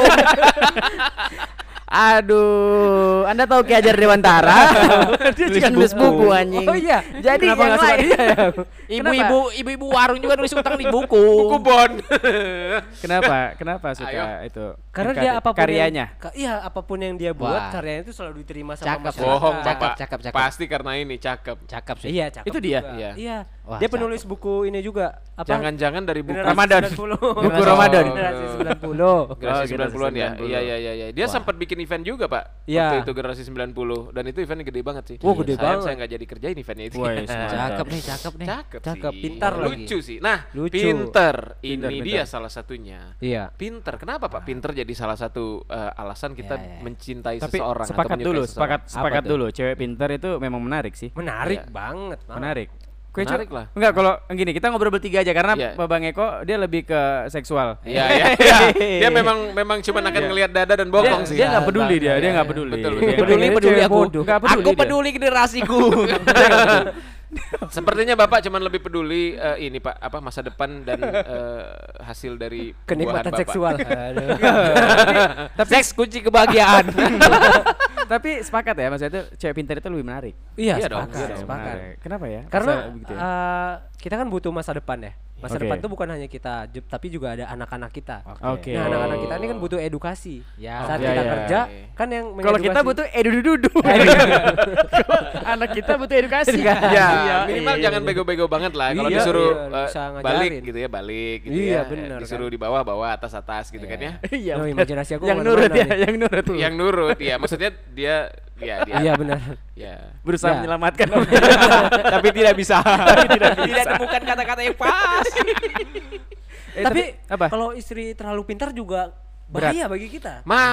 [SPEAKER 1] Aduh, Anda tahu Ki Hajar Dewantara? dia juga nulis buku anjing.
[SPEAKER 3] Oh iya.
[SPEAKER 1] Jadi
[SPEAKER 3] Kenapa
[SPEAKER 1] yang
[SPEAKER 3] nggak suka
[SPEAKER 1] lain.
[SPEAKER 3] dia ya?
[SPEAKER 4] [LAUGHS] Ibu-ibu, ibu-ibu warung juga nulis utang di buku.
[SPEAKER 2] Buku Bon.
[SPEAKER 1] Kenapa? Kenapa suka
[SPEAKER 2] Ayo.
[SPEAKER 1] itu?
[SPEAKER 3] Karena
[SPEAKER 1] Karya-
[SPEAKER 3] dia apapun yang-
[SPEAKER 1] karyanya.
[SPEAKER 3] ka- iya, apapun yang dia buat,
[SPEAKER 4] Wah.
[SPEAKER 3] karyanya itu selalu diterima sama
[SPEAKER 4] Cakep.
[SPEAKER 3] masyarakat.
[SPEAKER 2] Bohong,
[SPEAKER 4] Cakep,
[SPEAKER 2] Bapak.
[SPEAKER 4] cakep, cakep.
[SPEAKER 2] Pasti karena ini cakep.
[SPEAKER 4] Cakep sih.
[SPEAKER 3] Iya, cakep.
[SPEAKER 1] Itu dia?
[SPEAKER 3] juga.
[SPEAKER 2] Iya.
[SPEAKER 3] Iya.
[SPEAKER 4] Wah,
[SPEAKER 3] dia penulis buku ini juga. Apa?
[SPEAKER 2] Jangan-jangan dari buku
[SPEAKER 3] Generasi
[SPEAKER 1] Ramadan.
[SPEAKER 3] 90.
[SPEAKER 1] Buku Ramadan.
[SPEAKER 3] Generasi 90.
[SPEAKER 1] Oh,
[SPEAKER 2] Generasi
[SPEAKER 1] generasi
[SPEAKER 2] 90-an ya.
[SPEAKER 1] 90.
[SPEAKER 2] Iya iya iya iya. Dia
[SPEAKER 4] Wah.
[SPEAKER 2] sempat bikin event juga, Pak.
[SPEAKER 3] Iya.
[SPEAKER 2] Waktu itu generasi 90 dan itu eventnya gede banget sih.
[SPEAKER 3] Wah, gede
[SPEAKER 2] Sayang
[SPEAKER 3] banget.
[SPEAKER 2] Saya nggak jadi kerjain eventnya itu.
[SPEAKER 1] Woi, mantap.
[SPEAKER 4] Cakep nih, cakep nih.
[SPEAKER 2] Cakep,
[SPEAKER 4] cakep.
[SPEAKER 2] sih.
[SPEAKER 4] Pintar lagi.
[SPEAKER 2] Lucu sih. Nah,
[SPEAKER 3] Lucu.
[SPEAKER 2] pinter. Ini
[SPEAKER 1] Pintar, Ah. pintar.
[SPEAKER 2] dia salah satunya.
[SPEAKER 3] Iya.
[SPEAKER 2] Pinter. Kenapa, Pak? Pinter jadi salah satu eh, alasan kita
[SPEAKER 4] Ya, ya, ya.
[SPEAKER 2] mencintai
[SPEAKER 1] Iya, Tapi
[SPEAKER 2] seseorang atau
[SPEAKER 1] sepakat
[SPEAKER 2] menyukai
[SPEAKER 1] dulu,
[SPEAKER 2] seseorang.
[SPEAKER 1] sepakat
[SPEAKER 4] Apa
[SPEAKER 1] sepakat
[SPEAKER 4] tuh?
[SPEAKER 1] dulu. Cewek pintar itu memang menarik sih.
[SPEAKER 3] Menarik
[SPEAKER 2] Iya.
[SPEAKER 3] banget. malah.
[SPEAKER 1] Menarik. Kue
[SPEAKER 2] Menarik
[SPEAKER 1] cu-
[SPEAKER 2] lah.
[SPEAKER 1] Enggak kalau gini kita ngobrol bertiga aja karena
[SPEAKER 2] Iya.
[SPEAKER 1] Bang Eko dia lebih ke seksual.
[SPEAKER 2] Iya,
[SPEAKER 1] [LAUGHS]
[SPEAKER 2] iya. iya. Dia memang memang cuma akan ngelihat dada dan
[SPEAKER 1] Iya. Dia-
[SPEAKER 2] bokong sih.
[SPEAKER 1] Dia nggak peduli dia, dia
[SPEAKER 4] Iya,
[SPEAKER 1] nggak
[SPEAKER 4] iya.
[SPEAKER 1] peduli.
[SPEAKER 2] Betul,
[SPEAKER 1] Dia
[SPEAKER 2] betul.
[SPEAKER 1] nggak
[SPEAKER 4] Peduli,
[SPEAKER 3] Cewek
[SPEAKER 4] peduli aku.
[SPEAKER 3] bodoh.
[SPEAKER 1] Nggak peduli
[SPEAKER 4] aku
[SPEAKER 1] dia.
[SPEAKER 4] peduli generasiku. [LAUGHS]
[SPEAKER 2] Sepertinya Bapak cuman lebih peduli eh, ini Pak apa masa depan dan eh, hasil dari buahan
[SPEAKER 3] Kenikmatan
[SPEAKER 2] Bapak.
[SPEAKER 1] [LAUGHS]
[SPEAKER 3] seksual.
[SPEAKER 4] Seks kunci kebahagiaan.
[SPEAKER 1] [LAUGHS] Tapi sepakat ya maksudnya itu cewek pintar itu lebih menarik.
[SPEAKER 3] Iya,
[SPEAKER 2] Iya dong,
[SPEAKER 3] sepakat,
[SPEAKER 2] iya dong.
[SPEAKER 3] sepakat.
[SPEAKER 1] Menarik. Kenapa ya?
[SPEAKER 3] Karena
[SPEAKER 1] Bisa begitu ya?
[SPEAKER 3] eh, kita kan butuh masa depan ya. Masa
[SPEAKER 1] Oke.
[SPEAKER 3] depan itu bukan hanya kita, ju- tapi juga ada anak-anak kita.
[SPEAKER 1] Oke.
[SPEAKER 3] Nah,
[SPEAKER 2] Oh.
[SPEAKER 3] anak-anak kita ini kan butuh edukasi.
[SPEAKER 4] Ya.
[SPEAKER 3] Saat
[SPEAKER 1] Iya,
[SPEAKER 3] kita
[SPEAKER 1] iya.
[SPEAKER 3] kerja kan yang
[SPEAKER 1] Kalau
[SPEAKER 3] mengedukasi.
[SPEAKER 1] kita
[SPEAKER 3] [LAUGHS]
[SPEAKER 1] butuh
[SPEAKER 4] Eh,
[SPEAKER 1] edududu.
[SPEAKER 4] [LAUGHS]
[SPEAKER 1] Anak kita butuh edukasi.
[SPEAKER 2] [LAUGHS]
[SPEAKER 4] Iya.
[SPEAKER 2] Ya, minimal jangan bego-bego banget lah. Kalau
[SPEAKER 3] Iya,
[SPEAKER 2] disuruh
[SPEAKER 3] iya,
[SPEAKER 2] eh,
[SPEAKER 3] bisa
[SPEAKER 2] balik
[SPEAKER 3] ngajarin.
[SPEAKER 2] gitu ya, balik gitu
[SPEAKER 3] Iya,
[SPEAKER 2] ya. Eh,
[SPEAKER 3] benar kan.
[SPEAKER 2] Disuruh di bawah, bawah, atas, atas gitu kan ya.
[SPEAKER 1] Iya.
[SPEAKER 3] Loh,
[SPEAKER 1] benar.
[SPEAKER 3] imajinasi aku
[SPEAKER 1] yang
[SPEAKER 3] kemana-mana
[SPEAKER 1] nurut ya,
[SPEAKER 3] nih.
[SPEAKER 1] yang nurut.
[SPEAKER 2] Yang nurut ya, maksudnya dia ya dia.
[SPEAKER 3] Iya benar.
[SPEAKER 2] Ya.
[SPEAKER 1] berusaha
[SPEAKER 3] Ya.
[SPEAKER 1] [LAUGHS] menyelamatkan tapi tidak bisa. Nah. [LAUGHS] Tapi [LAUGHS] tidak bisa.
[SPEAKER 4] Tidak temukan kata-kata yang [LAUGHS] pas.
[SPEAKER 1] Eh,
[SPEAKER 3] tapi
[SPEAKER 1] apa?
[SPEAKER 3] kalau istri terlalu pintar juga
[SPEAKER 1] Berat.
[SPEAKER 3] bahaya bagi kita.
[SPEAKER 1] [LAUGHS]
[SPEAKER 2] Ma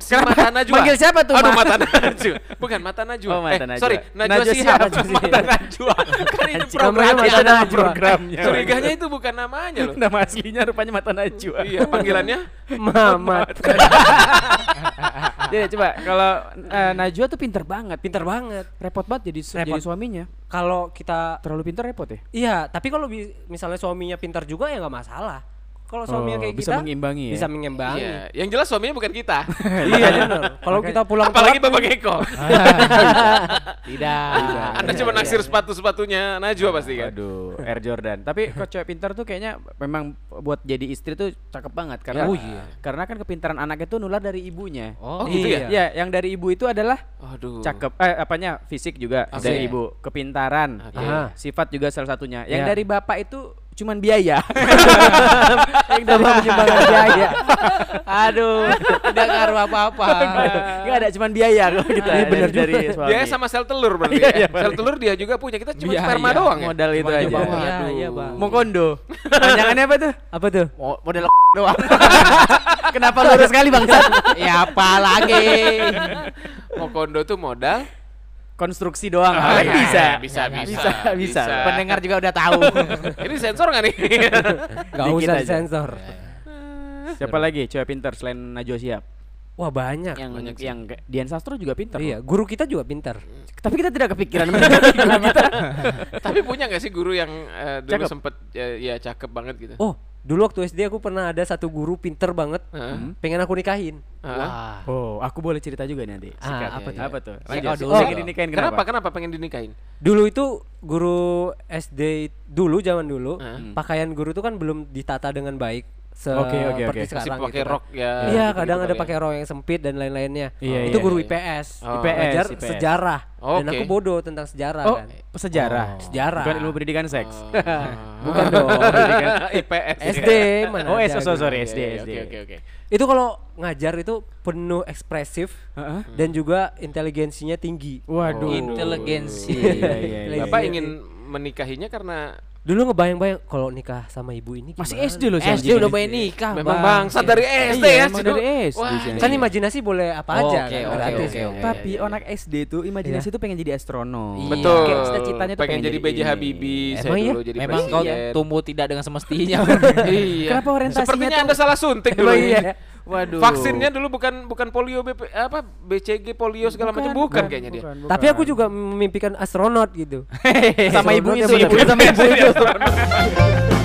[SPEAKER 2] Si Mata Najwa.
[SPEAKER 1] Manggil siapa tuh,
[SPEAKER 2] Aduh,
[SPEAKER 1] Ma?
[SPEAKER 2] Mata Najwa. Bukan Mata Najwa.
[SPEAKER 1] Oh, Mata
[SPEAKER 2] eh,
[SPEAKER 1] Najwa.
[SPEAKER 2] sorry, Najwa,
[SPEAKER 1] Najwa
[SPEAKER 2] Shihab.
[SPEAKER 1] Shihab.
[SPEAKER 2] Mata Najwa. kan itu
[SPEAKER 3] Anjing,
[SPEAKER 2] program
[SPEAKER 3] Iya. namanya
[SPEAKER 2] ya.
[SPEAKER 3] Mata Najwa. Iya,
[SPEAKER 1] programnya.
[SPEAKER 2] Curiganya [LAUGHS] itu bukan namanya loh.
[SPEAKER 1] Nama aslinya rupanya mata najwa.
[SPEAKER 2] Iya, panggilannya
[SPEAKER 3] Mamat.
[SPEAKER 1] Jadi coba kalau eh, Najwa tuh pinter banget, pinter
[SPEAKER 3] pintar banget.
[SPEAKER 1] repot banget jadi su-
[SPEAKER 3] Repot.
[SPEAKER 1] jadi suaminya.
[SPEAKER 3] Kalau kita
[SPEAKER 1] Terlalu pinter repot ya?
[SPEAKER 3] Iya, tapi kalau bi- misalnya suaminya pintar juga ya nggak masalah. Kalau suaminya
[SPEAKER 1] Oh,
[SPEAKER 3] kayak
[SPEAKER 1] bisa
[SPEAKER 3] kita
[SPEAKER 1] mengimbangi ya?
[SPEAKER 3] Bisa mengimbangi.
[SPEAKER 2] Iya, yang jelas suaminya bukan kita.
[SPEAKER 3] Iya
[SPEAKER 2] [LAUGHS]
[SPEAKER 3] benar. Kalau kita pulang
[SPEAKER 2] Apalagi
[SPEAKER 3] telat,
[SPEAKER 2] Bapak Geko.
[SPEAKER 3] [LAUGHS]
[SPEAKER 2] [LAUGHS]
[SPEAKER 4] Tidak.
[SPEAKER 2] Ah,
[SPEAKER 1] Iya,
[SPEAKER 2] Anda cuma naksir sepatu-sepatunya Najwa pasti kan.
[SPEAKER 1] Aduh, Air Jordan. Tapi kok cewek pintar tuh kayaknya memang buat jadi istri tuh cakep banget karena
[SPEAKER 4] Oh, iya.
[SPEAKER 1] karena kan kepintaran anaknya tuh nular dari ibunya.
[SPEAKER 2] Oh, gitu
[SPEAKER 1] Iya,
[SPEAKER 2] ya.
[SPEAKER 1] yang dari ibu itu adalah
[SPEAKER 2] Aduh.
[SPEAKER 1] cakep eh apanya fisik juga
[SPEAKER 2] Oke.
[SPEAKER 1] dari ibu, kepintaran,
[SPEAKER 2] Oke.
[SPEAKER 1] Aha. sifat juga salah satunya. Yang
[SPEAKER 3] Iya.
[SPEAKER 1] dari bapak itu cuman biaya.
[SPEAKER 3] yang dari menyumbangkan biaya.
[SPEAKER 4] ya. Aduh, tidak ngaruh apa-apa.
[SPEAKER 1] Enggak ada cuman biaya kalau kita
[SPEAKER 3] Iya, benar
[SPEAKER 1] dari, dari suami.
[SPEAKER 2] Dia sama sel telur berarti.
[SPEAKER 1] Iya, iya,
[SPEAKER 2] ya. sel
[SPEAKER 1] paling.
[SPEAKER 2] telur dia juga punya. Kita cuma
[SPEAKER 4] Iya,
[SPEAKER 2] sperma
[SPEAKER 4] iya.
[SPEAKER 2] doang ya.
[SPEAKER 1] modal itu
[SPEAKER 3] Cuma
[SPEAKER 1] aja.
[SPEAKER 3] nyumbang
[SPEAKER 1] Waduh.
[SPEAKER 3] Iya, iya, Bang.
[SPEAKER 1] Mau kondo. Panjangannya apa tuh?
[SPEAKER 3] Apa tuh?
[SPEAKER 4] Mo- Model [LAUGHS] doang.
[SPEAKER 1] Kenapa lurus sekali bangsat?
[SPEAKER 4] ya apa lagi?
[SPEAKER 2] Mau kondo tuh modal.
[SPEAKER 1] Konstruksi doang.
[SPEAKER 2] Ah,
[SPEAKER 1] bisa.
[SPEAKER 2] iya, iya, bisa, bisa,
[SPEAKER 1] bisa,
[SPEAKER 2] bisa.
[SPEAKER 1] bisa.
[SPEAKER 4] Pendengar juga udah tahu.
[SPEAKER 2] Ini sensor nggak nih?
[SPEAKER 3] Gak
[SPEAKER 1] Dikit
[SPEAKER 3] usah
[SPEAKER 1] aja.
[SPEAKER 3] disensor.
[SPEAKER 1] Siapa lagi cewek pintar selain Najwa Shihab?
[SPEAKER 3] Wah banyak.
[SPEAKER 1] Yang yang kayak Dian Sastro juga pintar. Iya.
[SPEAKER 3] Iya,
[SPEAKER 1] loh.
[SPEAKER 3] guru kita juga pintar.
[SPEAKER 1] Tapi kita tidak kepikiran mendekati guru kita.
[SPEAKER 2] Tapi punya nggak sih guru yang eh, dulu
[SPEAKER 1] Cakep.
[SPEAKER 2] sempet eh, ya cakep banget gitu?
[SPEAKER 3] Oh, dulu waktu SD aku pernah ada satu guru pintar banget,
[SPEAKER 2] Heeh.
[SPEAKER 3] pengen aku nikahin.
[SPEAKER 2] Heeh.
[SPEAKER 1] Oh, aku boleh cerita juga nanti.
[SPEAKER 3] Ah,
[SPEAKER 1] apa, tuh?
[SPEAKER 3] apa tuh?
[SPEAKER 1] ya. apa tuh?
[SPEAKER 4] Si
[SPEAKER 1] Lanjut.
[SPEAKER 4] Odo.
[SPEAKER 1] Si-
[SPEAKER 4] Oh.
[SPEAKER 1] pengen dinikahin
[SPEAKER 2] Kenapa? Kenapa pengen
[SPEAKER 1] [LAUGHS]
[SPEAKER 2] dinikahin?
[SPEAKER 3] Dulu itu guru SD dulu zaman dulu,
[SPEAKER 2] Heeh. Ah. Hmm.
[SPEAKER 3] pakaian guru itu kan belum ditata dengan baik. seperti
[SPEAKER 1] Oke, oke, oke.
[SPEAKER 3] sekarang
[SPEAKER 2] Masih
[SPEAKER 3] gitu
[SPEAKER 2] pakai
[SPEAKER 3] kan.
[SPEAKER 2] rok ya.
[SPEAKER 3] Iya,
[SPEAKER 2] gitu-gitu
[SPEAKER 3] kadang ada
[SPEAKER 2] kali ya.
[SPEAKER 3] pakai rok yang sempit dan lain-lainnya.
[SPEAKER 1] Iya,
[SPEAKER 3] itu
[SPEAKER 1] iya,
[SPEAKER 3] guru
[SPEAKER 1] iya.
[SPEAKER 3] IPS.
[SPEAKER 2] Oh.
[SPEAKER 1] IPS,
[SPEAKER 3] Belajar
[SPEAKER 1] IPS.
[SPEAKER 3] sejarah dan
[SPEAKER 2] Oke.
[SPEAKER 3] aku bodoh tentang sejarah
[SPEAKER 1] Oh,
[SPEAKER 3] kan.
[SPEAKER 1] sejarah. Oh.
[SPEAKER 4] Oh.
[SPEAKER 3] Sejarah.
[SPEAKER 1] Bukan ilmu pendidikan seks.
[SPEAKER 2] Ah,
[SPEAKER 3] Bukan
[SPEAKER 1] [LAUGHS]
[SPEAKER 3] dong.
[SPEAKER 2] IPS.
[SPEAKER 3] SD mana
[SPEAKER 1] iya. Oh,
[SPEAKER 3] ada
[SPEAKER 1] so- so-
[SPEAKER 3] gitu.
[SPEAKER 1] sorry,
[SPEAKER 2] Iya,
[SPEAKER 1] SD,
[SPEAKER 2] iya,
[SPEAKER 1] SD.
[SPEAKER 2] Oke oke oke.
[SPEAKER 3] Itu kalau ngajar itu penuh ekspresif
[SPEAKER 1] Heeh.
[SPEAKER 3] dan juga inteligensinya tinggi.
[SPEAKER 1] Waduh.
[SPEAKER 4] Inteligensi.
[SPEAKER 1] Iya, iya, iya.
[SPEAKER 3] Iya,
[SPEAKER 2] Bapak ingin menikahinya karena
[SPEAKER 3] Dulu ngebayang-bayang kalau nikah sama ibu ini
[SPEAKER 1] Masih
[SPEAKER 3] gimana?
[SPEAKER 1] SD loh si
[SPEAKER 4] SD
[SPEAKER 1] anjing
[SPEAKER 4] udah
[SPEAKER 1] ini.
[SPEAKER 4] pengen nikah
[SPEAKER 2] memang bangsa dari SD
[SPEAKER 1] Ah, Iya,
[SPEAKER 2] ya.
[SPEAKER 1] emang
[SPEAKER 2] Cino.
[SPEAKER 1] dari SD,
[SPEAKER 2] Wah,
[SPEAKER 1] Cino.
[SPEAKER 3] Kan imajinasi boleh apa
[SPEAKER 4] Iya. Oh,
[SPEAKER 3] aja
[SPEAKER 4] oke,
[SPEAKER 3] kan,
[SPEAKER 4] oke,
[SPEAKER 3] gratis.
[SPEAKER 4] oke,
[SPEAKER 3] kan.
[SPEAKER 4] oke.
[SPEAKER 1] Tapi anak SD tuh imajinasi tuh pengen jadi astronom.
[SPEAKER 4] Iya.
[SPEAKER 2] Betul.
[SPEAKER 1] Kayak cita-citanya tuh
[SPEAKER 2] pengen, jadi BJ
[SPEAKER 1] ini.
[SPEAKER 2] Habibie, saya
[SPEAKER 3] Emang iya?
[SPEAKER 2] dulu jadi
[SPEAKER 4] Memang kau
[SPEAKER 2] presiden.
[SPEAKER 4] tumbuh tidak dengan semestinya. [LAUGHS]
[SPEAKER 2] iya.
[SPEAKER 1] Kenapa orientasinya
[SPEAKER 2] Sepertinya
[SPEAKER 1] tuh-
[SPEAKER 2] Anda salah suntik dulu.
[SPEAKER 1] Emang iya. Waduh.
[SPEAKER 2] Vaksinnya dulu bukan bukan polio BP, apa BCG polio segala macam bukan, kayaknya dia.
[SPEAKER 3] Tapi aku juga
[SPEAKER 4] [LAUGHS]
[SPEAKER 3] memimpikan astronot gitu.
[SPEAKER 1] [LAUGHS] sama ibu
[SPEAKER 3] Astronot
[SPEAKER 1] itu,
[SPEAKER 3] yang
[SPEAKER 1] ibu sama ibu itu.